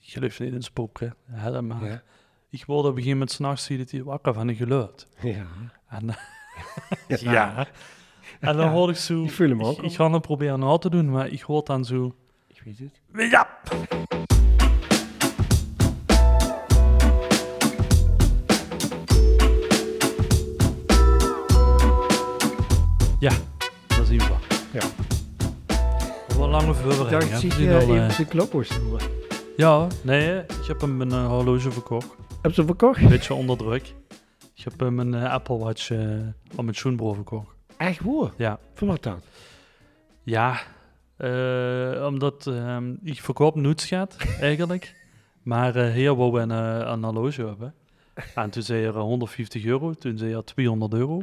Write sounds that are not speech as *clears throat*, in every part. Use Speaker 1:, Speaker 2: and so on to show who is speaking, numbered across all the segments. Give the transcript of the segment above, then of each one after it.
Speaker 1: geloof niet in spoken, helemaal.
Speaker 2: Ja.
Speaker 1: Ik word op een gegeven moment s'nachts wakker van een geluid.
Speaker 2: Ja.
Speaker 1: En, eh,
Speaker 2: *laughs*
Speaker 1: en dan
Speaker 2: Ja,
Speaker 1: hoor ik zo...
Speaker 2: ik voel hem ook
Speaker 1: Ik,
Speaker 2: al.
Speaker 1: ik ga hem proberen na te doen, maar ik hoor dan zo...
Speaker 2: Ik weet het.
Speaker 1: Ja! Ja, dat zien we.
Speaker 2: Ja.
Speaker 1: Wel lange
Speaker 2: Daar
Speaker 1: voorbereiding. hè.
Speaker 2: zie
Speaker 1: We
Speaker 2: je
Speaker 1: zien al, eh,
Speaker 2: even de klopworst horen.
Speaker 1: Ja, nee, ik heb hem een eh, horloge verkocht.
Speaker 2: Heb ze verkocht?
Speaker 1: Een beetje onder druk. Ik heb hem een eh, Apple Watch eh aan mijn schoenbroer verkocht.
Speaker 2: Echt waar?
Speaker 1: Ja.
Speaker 2: Voor wat dan?
Speaker 1: Ja, eh, omdat ehm, ik verkoop niets gaat,
Speaker 2: *laughs*
Speaker 1: eigenlijk. maar eh hier wou een, eh, een horloge hebben. En toen zei er eh, 150 euro, toen zei er 200 euro.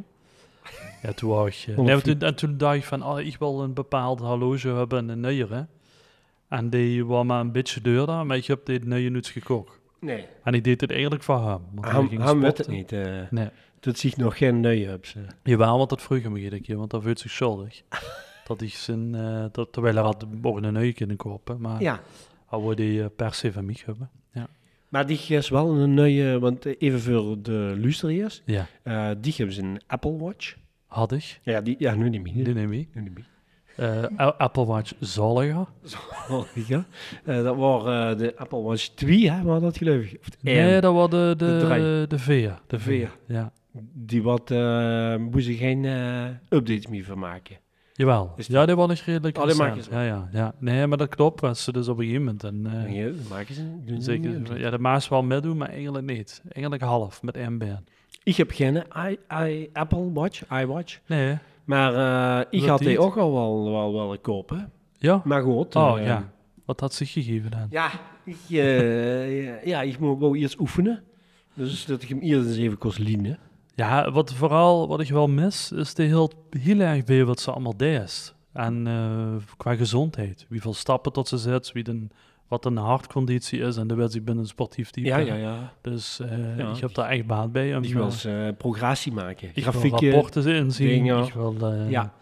Speaker 1: Ja, toen wou ik... eh, nee, maar toen, en toen dacht ik van, ah, ik wil een bepaald horloge hebben, een nieuwe. En die was maar een beetje duurder, maar ik heb dit nieuwe niets gekocht.
Speaker 2: Nee.
Speaker 1: En ik deed het eigenlijk voor hem. want hij
Speaker 2: Ham,
Speaker 1: ging
Speaker 2: ham weet het
Speaker 1: sporten.
Speaker 2: niet. eh.
Speaker 1: Nee.
Speaker 2: Dat ziet nog geen nee op ze.
Speaker 1: Jawel, want dat vroeg hem iedere keer, want dat voelt zich
Speaker 2: *laughs*
Speaker 1: schuldig. dat hij zijn, eh, dat, terwijl hij had morgen een nieuwe kunnen kopen, maar
Speaker 2: Ja.
Speaker 1: hij wilde die eh, per se van mij hebben. Ja.
Speaker 2: Maar die is wel een nieuwe, want eh, even voor de luisteraars.
Speaker 1: ja,
Speaker 2: eh, die hebben ze een Apple Watch.
Speaker 1: had ik.
Speaker 2: Ja, die, ja nu niet meer.
Speaker 1: Die neem ik.
Speaker 2: Nu niet meer. *laughs*
Speaker 1: Eh, A- Apple Watch zaliger.
Speaker 2: Oh, ja. Eh, dat waren eh, de Apple Watch 2, hè, waren dat geloof ik. Of de
Speaker 1: Nee,
Speaker 2: één.
Speaker 1: dat was de,
Speaker 2: De
Speaker 1: de,
Speaker 2: drie.
Speaker 1: de veer. De
Speaker 2: Veer.
Speaker 1: veer, ja.
Speaker 2: Die wat, eh moest je geen eh, updates meer van maken.
Speaker 1: Jawel.
Speaker 2: Is die-
Speaker 1: Ja, die was nog redelijk
Speaker 2: Oh, die
Speaker 1: recent.
Speaker 2: maak je zo.
Speaker 1: ja, ja, ja. Nee, maar dat klopt, was ze dus op een gegeven moment. En, eh,
Speaker 2: Ja, dat maken ze doen ze niet meer.
Speaker 1: zeker, ja, de Maas wel meedoen, maar eigenlijk niet. Eigenlijk half, met MBN.
Speaker 2: Ik heb geen i, i, Apple Watch, iWatch.
Speaker 1: Nee,
Speaker 2: Maar eh, ik
Speaker 1: Wat
Speaker 2: had die
Speaker 1: niet?
Speaker 2: ook al wel, wel willen kopen.
Speaker 1: ja?
Speaker 2: Maar goed.
Speaker 1: Oh,
Speaker 2: eh,
Speaker 1: ja. Wat had zich gegeven dan?
Speaker 2: Ja, ik, eh, ja, ja, ik moet wel eerst oefenen. Dus dat ik hem eerst eens even kost lienen.
Speaker 1: Ja, wat vooral wat ik wel mis, is de heel, heel erg bij wat ze allemaal deed. En eh, qua gezondheid. Hoeveel stappen tot ze zet, wie den, wat een hartconditie is en de wedstrijd binnen een sportief team.
Speaker 2: Ja, ja, ja.
Speaker 1: Dus eh,
Speaker 2: Ja.
Speaker 1: ik heb daar echt baat bij. En,
Speaker 2: Ik wil eens eh, progressie maken.
Speaker 1: ik wil
Speaker 2: Grafieken.
Speaker 1: rapporten inzien.
Speaker 2: dingen.
Speaker 1: Ik, wil, eh,
Speaker 2: Ja.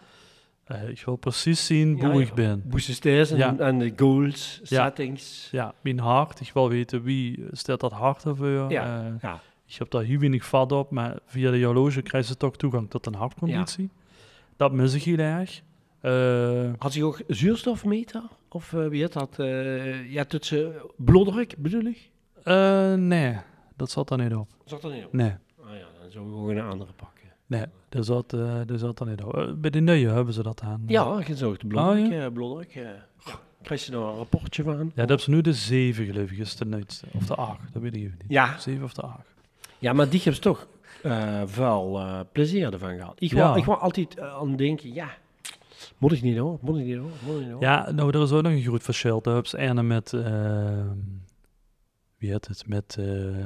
Speaker 1: eh, ik wil precies zien
Speaker 2: Ja,
Speaker 1: hoe
Speaker 2: ja.
Speaker 1: ik ben.
Speaker 2: Boosters en,
Speaker 1: Ja.
Speaker 2: en de goals, settings.
Speaker 1: Ja, mijn hart. Ik wil weten wie stelt dat hart ervoor.
Speaker 2: Ja.
Speaker 1: eh,
Speaker 2: Ja.
Speaker 1: Ik heb daar heel weinig vat op, maar via de horloge krijg ze toch toegang tot een hartconditie. Dat mis ik heel erg. Eh,
Speaker 2: Had hij ook zuurstofmeter? Of eh, wie had dat? eh, ja, tussen bloeddruk bedoel ik?
Speaker 1: eh, nee, dat zat er niet op.
Speaker 2: Zat er niet op?
Speaker 1: Nee,
Speaker 2: Ah ja, dan zullen we gewoon een andere pakken.
Speaker 1: nee, daar zat, eh daar zat er niet op. Eh, bij de nieuwe hebben ze dat aan.
Speaker 2: Ja, gezorgd. Bloeddruk.
Speaker 1: Ah,
Speaker 2: eh, bloeddruk eh, ja. Krijg je nou een rapportje van?
Speaker 1: Ja, dat is nu de 7 geloof ik, is de nieuwste. Of de 8, dat weet ik even niet.
Speaker 2: Ja.
Speaker 1: 7 of de 8.
Speaker 2: ja, maar die heeft toch eh veel eh, plezier ervan gehad. Ik wou,
Speaker 1: Ja.
Speaker 2: ik wou altijd eh, aan denken, ja, moet ik niet hoor, moet ik niet hoor, moet ik niet hoor.
Speaker 1: Ja, nou, er is ook nog een groot verschil. Daar hebben ze ene met, eh, wie heet het, met, eh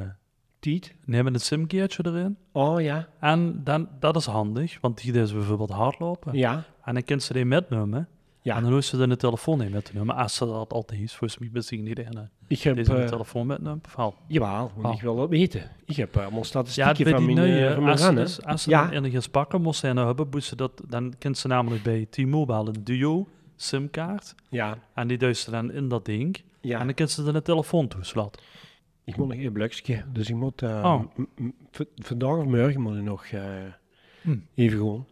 Speaker 2: Tiet.
Speaker 1: nee, met een simkeertje erin.
Speaker 2: Oh ja,
Speaker 1: En dan, dat is handig, want die is bijvoorbeeld hardlopen.
Speaker 2: ja.
Speaker 1: En dan kan ze die metnemen.
Speaker 2: Ja.
Speaker 1: En dan hoeft ze dan de telefoon niet met te nemen. Als ze dat altijd is, volgens mij bezien niet in.
Speaker 2: Ik heb,
Speaker 1: Deze de
Speaker 2: eh
Speaker 1: telefoon metnemen. Verhaal.
Speaker 2: jawel, want
Speaker 1: Oh.
Speaker 2: ik wil dat weten. Ik heb eh, allemaal
Speaker 1: Ja,
Speaker 2: statistieken
Speaker 1: bij
Speaker 2: van
Speaker 1: die
Speaker 2: mijn, eh,
Speaker 1: nieuwe,
Speaker 2: van mijn
Speaker 1: als ze,
Speaker 2: rennen.
Speaker 1: dus, als ze
Speaker 2: Ja.
Speaker 1: dan ergens pakken moest zijn hebben, moest ze dat, dan kent ze namelijk bij T-Mobile een duo simkaart.
Speaker 2: Ja,
Speaker 1: En die duist ze dan in dat ding.
Speaker 2: ja.
Speaker 1: En dan kent ze dan de telefoon toeslaat.
Speaker 2: Ik moet nog een blokje, dus ik moet eh,
Speaker 1: Oh.
Speaker 2: m- m- v- vandaag of morgen moet ik nog eh,
Speaker 1: Hm.
Speaker 2: even gewoon.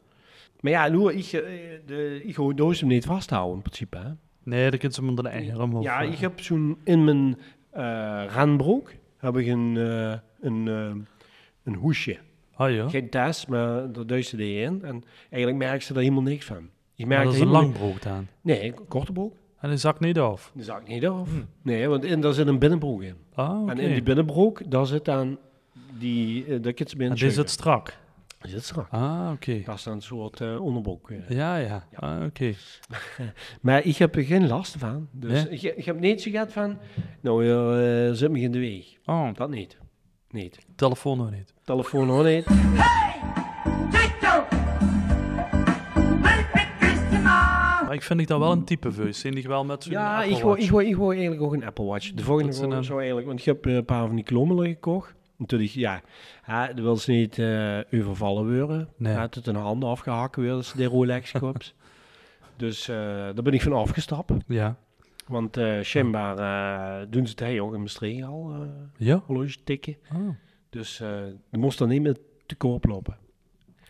Speaker 2: Maar ja, nu, ik, eh, de, ik gewoon doos hem niet vasthouden in principe. Hè.
Speaker 1: Nee, dan kent ze hem onder de eigen rem. of,
Speaker 2: ja,
Speaker 1: eh,
Speaker 2: ik heb zo'n in mijn eh randbroek heb ik een, eh, een, eh, een hoesje.
Speaker 1: Ah ja,
Speaker 2: Geen tas, maar daar duist ze die in. En eigenlijk merk ze er helemaal niks van. Ik merk
Speaker 1: maar dat
Speaker 2: er
Speaker 1: is een
Speaker 2: helemaal
Speaker 1: lang brood aan.
Speaker 2: ni- Nee, een korte broek.
Speaker 1: En die zakt niet af.
Speaker 2: Die zag ik niet af.
Speaker 1: Hm.
Speaker 2: Nee, want in, daar zit een binnenbroek in.
Speaker 1: Ah, oké.
Speaker 2: En in die binnenbroek, daar zit dan die... eh, daar kun je ze bij
Speaker 1: En die zit
Speaker 2: inscheuren.
Speaker 1: strak.
Speaker 2: Die zit strak.
Speaker 1: Ah, oké.
Speaker 2: Dat is dan een soort eh, onderbroek. eh.
Speaker 1: Ja, ja. Ah, oké.
Speaker 2: Maar ik heb er geen last van. Dus
Speaker 1: Nee?
Speaker 2: ik, ik heb niet zo gehad van, nou, eh, zit me in de weg.
Speaker 1: Oh,
Speaker 2: Dat niet. Niet.
Speaker 1: telefoon nog niet.
Speaker 2: Telefoon hoor niet.
Speaker 1: Maar ik vind ik dat wel een type vuist. Vind ik wel met zo'n
Speaker 2: Ja,
Speaker 1: Apple
Speaker 2: ik wou,
Speaker 1: Watch.
Speaker 2: ik, wou, ik wou eigenlijk ook een Apple Watch. De volgende
Speaker 1: Dat is een,
Speaker 2: zou
Speaker 1: eh,
Speaker 2: zou eigenlijk, want ik heb eh, een paar van die klommelen gekocht. Natuurlijk, ja, hè, dat wil ze niet eh overvallen worden.
Speaker 1: Nee.
Speaker 2: Hè, tot hun
Speaker 1: *laughs*
Speaker 2: handen afgehakken werden, ze die Rolex koopt. dus eh, daar ben ik van afgestapt.
Speaker 1: Ja.
Speaker 2: Want eh schijnbaar eh, doen ze het hier ook in Maastricht al, eh
Speaker 1: Ja.
Speaker 2: horloge tikken.
Speaker 1: Oh.
Speaker 2: Dus eh je moest er niet meer te koop lopen.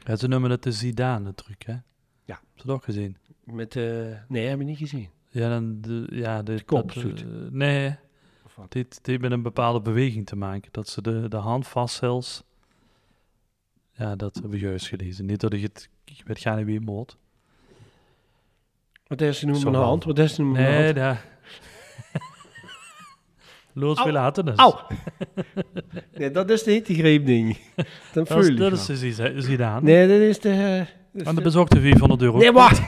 Speaker 1: Ja, ze noemen dat de Zidane truc, hè?
Speaker 2: Ja.
Speaker 1: Heb je dat ook gezien?
Speaker 2: Met, eh, nee, heb ik niet gezien.
Speaker 1: Ja, dan de, ja, de,
Speaker 2: kop
Speaker 1: dat,
Speaker 2: zoet.
Speaker 1: eh, nee,
Speaker 2: Of wat?
Speaker 1: dit, dit met een bepaalde beweging te maken. Dat ze de, de hand vast zelfs. Ja, dat heb ik juist gelezen. Niet dat ik het. Ik weet gaan niet wie het moord.
Speaker 2: Wat is er nu met
Speaker 1: Zo
Speaker 2: mijn
Speaker 1: wel.
Speaker 2: hand? Wat is er nu met mijn
Speaker 1: Nee,
Speaker 2: hand?
Speaker 1: daar. *laughs* Loods
Speaker 2: Au.
Speaker 1: wil laten. dus.
Speaker 2: Au!
Speaker 1: *laughs*
Speaker 2: nee, dat is niet die greepding. Dan
Speaker 1: Dat is,
Speaker 2: voel
Speaker 1: dat is
Speaker 2: je
Speaker 1: dus iets- iets gedaan.
Speaker 2: Nee, dat is de... eh, dat is
Speaker 1: En
Speaker 2: de-
Speaker 1: dat is ook de 400 euro.
Speaker 2: Nee, wacht!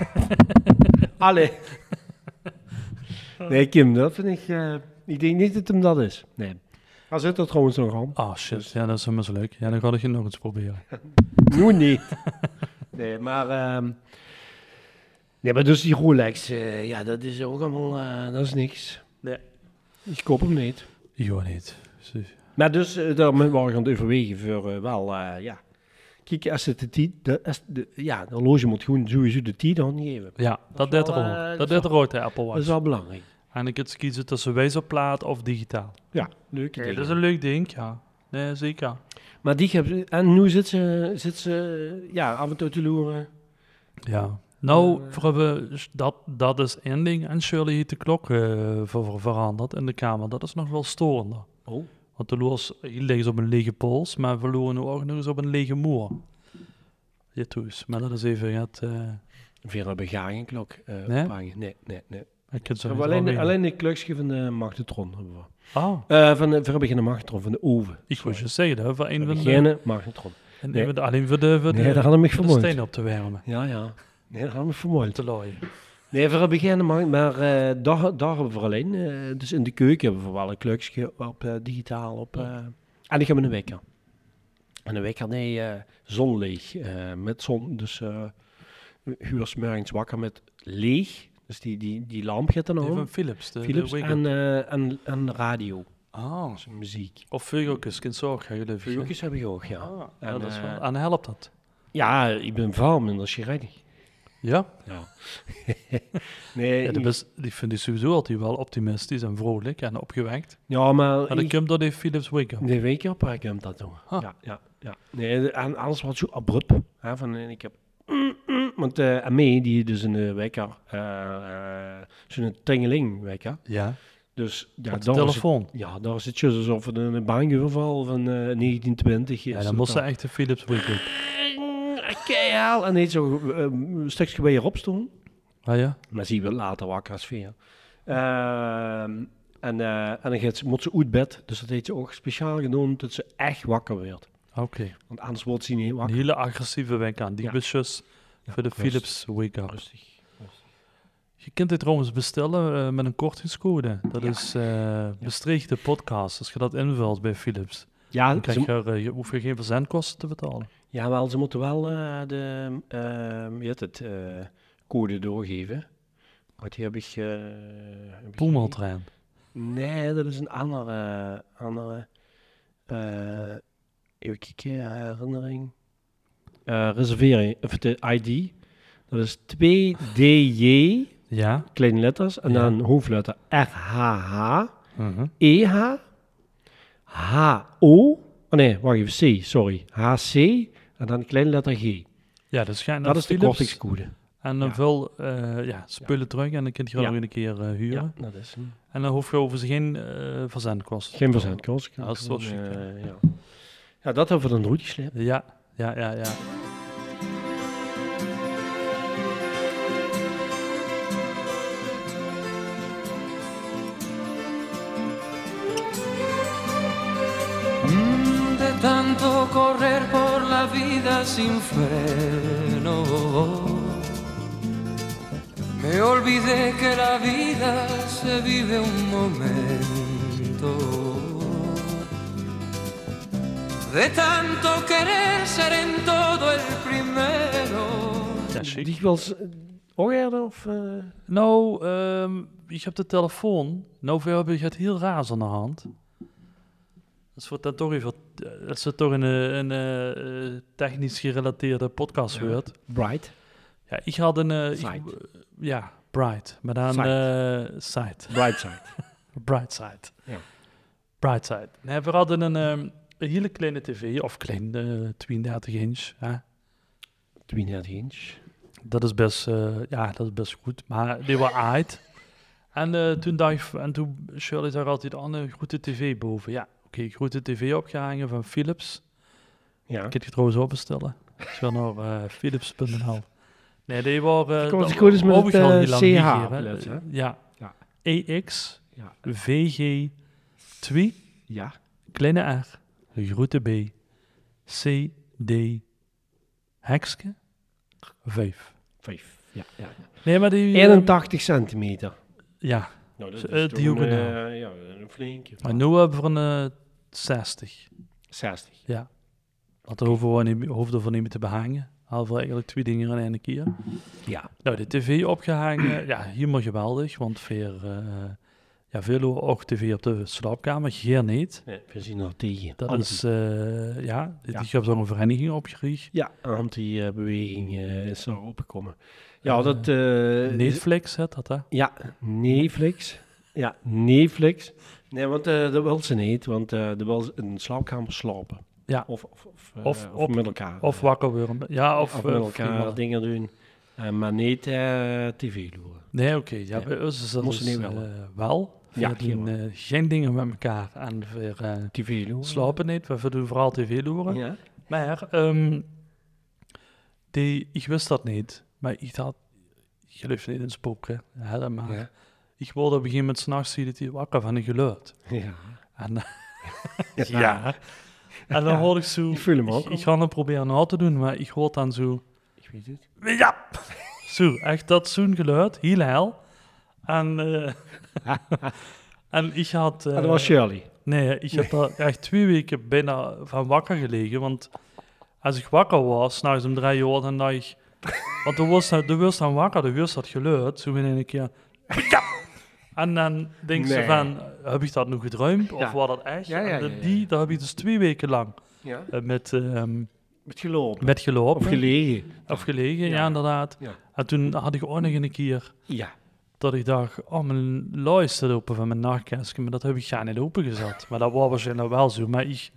Speaker 1: *laughs*
Speaker 2: Allee. Nee, Kim, dat vind ik... eh, ik denk niet dat hem dat is. Nee. Hij zit er trouwens nog aan.
Speaker 1: Ah, shit. Ja, dat is helemaal zo leuk. Ja, dan ga ik het nog eens proberen.
Speaker 2: *laughs* Nu niet. Nee, maar... ehm, nee, maar dus die Rolex, eh, ja, dat is ook allemaal... eh, dat is niks.
Speaker 1: Nee.
Speaker 2: Ik koop hem niet.
Speaker 1: Jo, niet. Precies.
Speaker 2: Maar dus, eh, daar moeten we gaan overwegen voor eh, wel, eh, ja... Kijk, als het de tijd... de- als de- Ja, de horloge moet gewoon sowieso de tijd aangeven.
Speaker 1: Ja, dat
Speaker 2: is wel,
Speaker 1: deed er
Speaker 2: eh,
Speaker 1: ook.
Speaker 2: dat is
Speaker 1: Dat deed er
Speaker 2: wel-
Speaker 1: ook, de Apple
Speaker 2: Dat is
Speaker 1: Watch.
Speaker 2: wel belangrijk.
Speaker 1: En ik het kiezen tussen wijzerplaat of digitaal.
Speaker 2: Ja, leuk.
Speaker 1: Ja, dat is een leuk ding, ja. Nee, zeker.
Speaker 2: Maar die heb, en nu zit ze, zit ze ja, af en toe te loeren.
Speaker 1: Ja. Nou,
Speaker 2: Eh,
Speaker 1: we hebben s- dat, dat is één ding. En Shirley heeft de klok eh, ver- ver- veranderd in de kamer. Dat is nog wel storender.
Speaker 2: Oh.
Speaker 1: Want de loers liggen eens op een lege pols, maar we loeren nu ook nog eens op een lege moer. Je toes. Maar dat is even het... eh
Speaker 2: Weer een begagenklok eh
Speaker 1: Nee?
Speaker 2: ophangen. Nee, nee, nee.
Speaker 1: ik kan het
Speaker 2: We
Speaker 1: zo niet
Speaker 2: hebben alleen,
Speaker 1: wel
Speaker 2: de,
Speaker 1: weten.
Speaker 2: alleen de klukje van de magnetron hebben we.
Speaker 1: Ah,
Speaker 2: Eh, van de, we hebben geen magnetron, van de oven.
Speaker 1: ik wou
Speaker 2: Sorry.
Speaker 1: je zeggen, hè, voor
Speaker 2: We
Speaker 1: één van
Speaker 2: hebben
Speaker 1: de...
Speaker 2: Geen magnetron.
Speaker 1: en
Speaker 2: nee.
Speaker 1: één van de- alleen voor de, voor de,
Speaker 2: Nee, daar hadden we me
Speaker 1: voor de
Speaker 2: vermoord.
Speaker 1: steen op te wermen.
Speaker 2: Ja,
Speaker 1: *laughs*
Speaker 2: ja. Nee, dat hadden we vermoord.
Speaker 1: Te looien.
Speaker 2: Nee, we hebben geen magnetron, maar eh, daar, daar hebben we alleen. eh, dus in de keuken hebben we wel een klukje op eh, digitaal. Op, eh, en ik heb een wekker. En een wekker, nee, eh, zonleeg. eh, met zon, dus eh u was morgens wakker met leeg. Dus die, die, die lamp gaat dan
Speaker 1: Die
Speaker 2: aan.
Speaker 1: van Philips. De,
Speaker 2: Philips
Speaker 1: de wake-up.
Speaker 2: en, eh, en, en radio.
Speaker 1: Ah.
Speaker 2: Dus muziek.
Speaker 1: Of Vugokjes, kind zorg, ga je leven.
Speaker 2: Vuurtjes heb ik ook, ja.
Speaker 1: Ah,
Speaker 2: En,
Speaker 1: ja, dat is wel-
Speaker 2: eh,
Speaker 1: en helpt dat?
Speaker 2: Ja, ik ben veel minder chagrijnig.
Speaker 1: Ja,
Speaker 2: Ja. *laughs* nee,
Speaker 1: ja
Speaker 2: ik-
Speaker 1: dat is, die vind ik sowieso altijd wel optimistisch en vrolijk en opgewekt.
Speaker 2: ja, maar...
Speaker 1: En dan
Speaker 2: ik-
Speaker 1: komt door die Philips Wake-up.
Speaker 2: De week op heb ik hem dat doen.
Speaker 1: Ah.
Speaker 2: Ja, ja, ja. Nee, de- en alles wat zo abrupt. Hè, van, eh, ik heb... Mm, mm, want eh Amé, die dus een eh, wekker, eh, eh, zo'n tingeling wekker.
Speaker 1: Ja,
Speaker 2: Dus ja,
Speaker 1: op de
Speaker 2: daar is het,
Speaker 1: telefoon.
Speaker 2: ja, daar is het dus alsof het een baangeval van eh, 1920 is.
Speaker 1: Ja,
Speaker 2: Dat
Speaker 1: dan moest ze
Speaker 2: dan-
Speaker 1: echt de Philips Wake-up.
Speaker 2: Keihard. En niet zo eh, een stukje bij je opstond.
Speaker 1: Ah ja?
Speaker 2: Maar zie je wel later wakker als veel. Ehm, en, eh, en dan gaat ze, moet ze uit bed. Dus dat heeft ze ook speciaal gedaan dat ze echt wakker werd.
Speaker 1: Ah, Oké.
Speaker 2: Want anders wordt ze niet
Speaker 1: Een
Speaker 2: wakker.
Speaker 1: hele agressieve wenk aan. Die
Speaker 2: Ja.
Speaker 1: busjes voor de
Speaker 2: rust.
Speaker 1: Philips Wake-up.
Speaker 2: Rustig.
Speaker 1: Je kunt dit trouwens bestellen eh, met een kortingscode. Dat is eh bestreegde podcast. Als je dat invult bij Philips, dan
Speaker 2: Ja,
Speaker 1: krijg
Speaker 2: ze,
Speaker 1: je, er, eh, je hoef je geen verzendkosten te betalen.
Speaker 2: jawel, ze moeten wel eh, de ehm, hoe heet het, eh, code doorgeven. Wat heb ik... eh, heb ik niet.
Speaker 1: Poemeltrein.
Speaker 2: Nee, dat is een andere... andere eh, even kijken, herinnering. Eh reservering, of de ID. Dat is 2DJ,
Speaker 1: Ja?
Speaker 2: kleine letters, en
Speaker 1: Ja.
Speaker 2: dan hoofdletter RHH,
Speaker 1: Mhm.
Speaker 2: EH, HO, oh nee, wacht even, C, sorry, HC, en dan een kleine letter G.
Speaker 1: Ja, dat schijnt
Speaker 2: Dat is de
Speaker 1: Philips-
Speaker 2: kortingscode.
Speaker 1: En dan
Speaker 2: Ja.
Speaker 1: vul eh, ja, spullen terug en dan kun je gewoon
Speaker 2: Ja.
Speaker 1: nog een keer eh, huren.
Speaker 2: Ja, dat is hem.
Speaker 1: En dan hoef je overigens geen eh verzendkosten.
Speaker 2: Geen verzendkost.
Speaker 1: Ja, dat is wel chic,
Speaker 2: Eh,
Speaker 1: hè.
Speaker 2: ja. ja, dat hebben we dan roetje slepen.
Speaker 1: Ja, ja, ja, ja.
Speaker 3: Mm, De tanto correr por la vida sin freno, me olvidé que la vida se vive un momento. De tanto querer ser en todo el primero.
Speaker 1: ja chic.
Speaker 2: Die was eh, ook eerder of... eh,
Speaker 1: Nou, ehm ik heb de telefoon. Nou, we hebben het heel raars aan de hand. Dat wordt dan toch even... Dat ze toch een, eh, een eh, eh, technisch gerelateerde podcast
Speaker 2: Ja.
Speaker 1: wordt.
Speaker 2: Bright.
Speaker 1: Ja, ik had een... eh, ik-
Speaker 2: Site.
Speaker 1: ja, Bright, maar dan
Speaker 2: Side.
Speaker 1: eh, side.
Speaker 2: Brightside. *laughs*
Speaker 1: Brightside.
Speaker 2: Ja.
Speaker 1: Brightside. Nee, we hadden een, ehm, een hele kleine tv, of klein, eh, 32 inch. Hè?
Speaker 2: 32 inch.
Speaker 1: Dat is best, eh, ja, dat is best goed. Maar die was uit. En eh, toen dacht ik, en toen Shirley daar altijd aan, eh, een grote tv boven. Ja, oké, grote tv opgehangen van Philips.
Speaker 2: Ja.
Speaker 1: Ik heb die trouwens ook bestellen. Is wel naar eh, philips.nl. Nee, die waren...
Speaker 2: Ik
Speaker 1: eh,
Speaker 2: kom als ik
Speaker 1: dat-
Speaker 2: goed is met het,
Speaker 1: overal
Speaker 2: eh,
Speaker 1: heel lang niet
Speaker 2: CH
Speaker 1: hier, hè.
Speaker 2: opletten, hè?
Speaker 1: Ja. E
Speaker 2: Ja.
Speaker 1: EX,
Speaker 2: Ja.
Speaker 1: VG, 2,
Speaker 2: ja.
Speaker 1: kleine R, grote B, C, D, hekske, 5.
Speaker 2: Vijf. Ja, ja.
Speaker 1: Nee, maar die... eh,
Speaker 2: 81 centimeter.
Speaker 1: Ja,
Speaker 2: Nou,
Speaker 1: dat is Eh, toch diagonaal. een,
Speaker 2: ja, een flinkje.
Speaker 1: Maar nu hebben we een eh, 60.
Speaker 2: 60.
Speaker 1: Want daar hoeven we niet, hoefden we niet meer te behangen. Halen we eigenlijk twee dingen aan één keer.
Speaker 2: Ja.
Speaker 1: Nou, de tv
Speaker 2: *clears throat*
Speaker 1: opgehangen, ja, helemaal geweldig. Want veel, eh ja, veel horen ook tv op de slaapkamer, geen niet.
Speaker 2: Nee, we zien er tegen.
Speaker 1: Dat
Speaker 2: Anti-
Speaker 1: is, eh, ja, dit
Speaker 2: Oh, Ja.
Speaker 1: ik heb zo'n vereniging opgericht.
Speaker 2: Ja, anti-beweging eh, is er opgekomen. Ja, dat... eh,
Speaker 1: Netflix, hè, dat hè?
Speaker 2: Ja, Netflix. Ja, Netflix. Nee, want eh, dat wil ze niet, want eh dat wil ze in de slaapkamer slapen.
Speaker 1: Ja.
Speaker 2: Of, of, of, eh,
Speaker 1: Of
Speaker 2: of
Speaker 1: op-
Speaker 2: met elkaar.
Speaker 1: Of
Speaker 2: eh,
Speaker 1: wakker worden. Ja, of,
Speaker 2: of met
Speaker 1: eh,
Speaker 2: elkaar
Speaker 1: prima.
Speaker 2: dingen doen. Eh, maar niet eh, tv loeren.
Speaker 1: Nee, oké. ja,
Speaker 2: Ja.
Speaker 1: bij ons is dat
Speaker 2: Moesten
Speaker 1: dus,
Speaker 2: niet wel.
Speaker 1: eh, wel.
Speaker 2: Ja,
Speaker 1: Ja, we doen
Speaker 2: geen
Speaker 1: eh, geen dingen met elkaar. En weer eh,
Speaker 2: TV loeren.
Speaker 1: slapen niet. We doen vooral tv loeren.
Speaker 2: Ja.
Speaker 1: Maar ehm, die, ik wist dat niet. Maar ik had, ik geloof niet in spoken. hè, dat maar
Speaker 2: Ja.
Speaker 1: ik wilde op een gegeven moment s'nachts zien dat hij wakker van een geluid.
Speaker 2: ja. Ah,
Speaker 1: En, eh, *laughs* en dan hoorde ik zo...
Speaker 2: Ik voel hem ook.
Speaker 1: Ik, ik ga hem proberen na te doen, maar ik hoorde dan zo...
Speaker 2: Ik weet het.
Speaker 1: Ja! Zo, echt dat zo'n geluid, heel hel. En, eh, *laughs* en ik had... eh,
Speaker 2: Ah, dat was Shirley.
Speaker 1: Nee, ik heb daar echt twee weken bijna van wakker gelegen. Want als ik wakker was, s'nachts om drie uur, dan dacht ik... Want de was, de was dan wakker, de was dat geluid. Zo in een keer... "Pika!" En dan denk ze
Speaker 2: Nee.
Speaker 1: van, heb ik dat nu gedruimd? Of
Speaker 2: Ja.
Speaker 1: was dat echt?
Speaker 2: Ja, ja,
Speaker 1: En
Speaker 2: ja,
Speaker 1: de-
Speaker 2: ja.
Speaker 1: Die, daar heb ik dus twee weken lang
Speaker 2: Ja.
Speaker 1: eh, met, ehm,
Speaker 2: Met gelopen.
Speaker 1: met gelopen.
Speaker 2: Of gelegen.
Speaker 1: Of gelegen, ja,
Speaker 2: Ja.
Speaker 1: inderdaad.
Speaker 2: Ja.
Speaker 1: En toen had ik ook nog een keer
Speaker 2: Ja.
Speaker 1: dat ik dacht, oh, mijn lui is te open van mijn nachtkastje, maar dat heb ik ga niet opengezet. Maar dat was waarschijnlijk wel zo. Maar ik,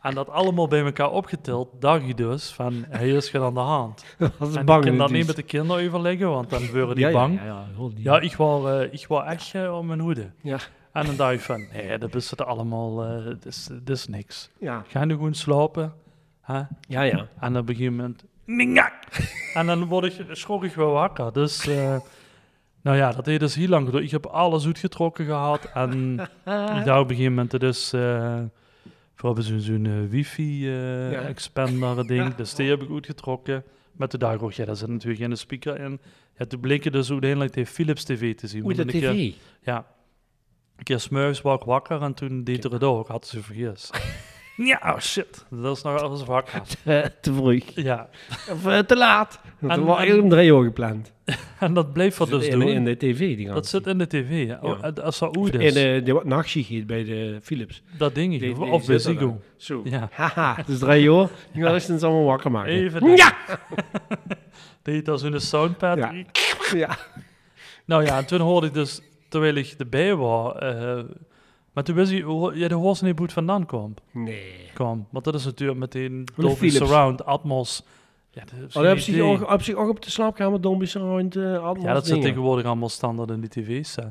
Speaker 1: en dat allemaal bij elkaar opgeteld, dacht ik dus van, hij is er aan de hand.
Speaker 2: *laughs* Dat was
Speaker 1: en
Speaker 2: bang.
Speaker 1: ik kan dat
Speaker 2: dus.
Speaker 1: niet met de kinderen overleggen, want dan worden die
Speaker 2: Ja, ja,
Speaker 1: bang.
Speaker 2: Ja,
Speaker 1: Ja,
Speaker 2: ja, hoor die.
Speaker 1: ik wou, eh, ik wou echt eh, om mijn hoede.
Speaker 2: Ja.
Speaker 1: En dan dacht ik van, nee, dat is het allemaal, eh, dit is, dit is niks.
Speaker 2: Ja.
Speaker 1: Ga nu gewoon slapen. Hè?
Speaker 2: Ja, ja.
Speaker 1: En op een gegeven moment... Ningak! *laughs* En dan word ik, schrok ik wel wakker. Dus, eh, nou ja, dat deed dus heel lang geduurd. Ik heb alles uitgetrokken gehad. En ik dacht op een gegeven moment, dus... eh we hebben zo'n zo'n, eh,
Speaker 2: Ja.
Speaker 1: wifi-expander *laughs* ding. Dus die heb ik uitgetrokken. Met de dag, oh ja, daar zit natuurlijk geen speaker in. Ja, toen bleek het dus uiteindelijk de Philips TV te zien.
Speaker 2: Oei,
Speaker 1: Want
Speaker 2: de
Speaker 1: een keer-
Speaker 2: tv. *laughs*
Speaker 1: eh, ja. Een keer smeugs was ik wakker en toen deed er het ook. Had ze vergist. *laughs* ja, oh shit. Dat is nog alles *laughs* wakker.
Speaker 2: Eh, te vroeg.
Speaker 1: Ja,
Speaker 2: Of eh, te laat. Dat
Speaker 1: En-
Speaker 2: was
Speaker 1: en-
Speaker 2: eigenlijk om drie uur gepland.
Speaker 1: *laughs* en dat bleef er dus
Speaker 2: in, in
Speaker 1: doen.
Speaker 2: de tv. Die
Speaker 1: Dat zit in de tv, ja. Oh,
Speaker 2: Ja.
Speaker 1: eh, Als dat
Speaker 2: goed.
Speaker 1: oud
Speaker 2: In
Speaker 1: is,
Speaker 2: de, de wat nachtschicht bij de Philips.
Speaker 1: dat ding
Speaker 2: die-
Speaker 1: ik.
Speaker 2: die
Speaker 1: Of bij
Speaker 2: zit er
Speaker 1: Ziggo.
Speaker 2: Zo.
Speaker 1: Ja,
Speaker 2: Haha, dus het is drie uur. Nu gaan ze ons allemaal wakker maken.
Speaker 1: even.
Speaker 2: Ja!
Speaker 1: Deed als in de soundpad.
Speaker 2: Ja. ja.
Speaker 1: Nou ja, en toen hoorde ik dus, terwijl ik erbij was... eh, maar toen wist ik, ho- ja, de hoorste niet goed vandaan kwam.
Speaker 2: Nee.
Speaker 1: kwam. Want dat is natuurlijk meteen
Speaker 2: de
Speaker 1: Dolby
Speaker 2: Philips.
Speaker 1: Surround, Atmos. Ja, dat is
Speaker 2: Oh, dat
Speaker 1: geen
Speaker 2: heb zich
Speaker 1: idee.
Speaker 2: ook, heb zich ook op de slaapkamer Dombi Surround uh,
Speaker 1: Ja, dat zit tegenwoordig allemaal standaard in die tv's. hè.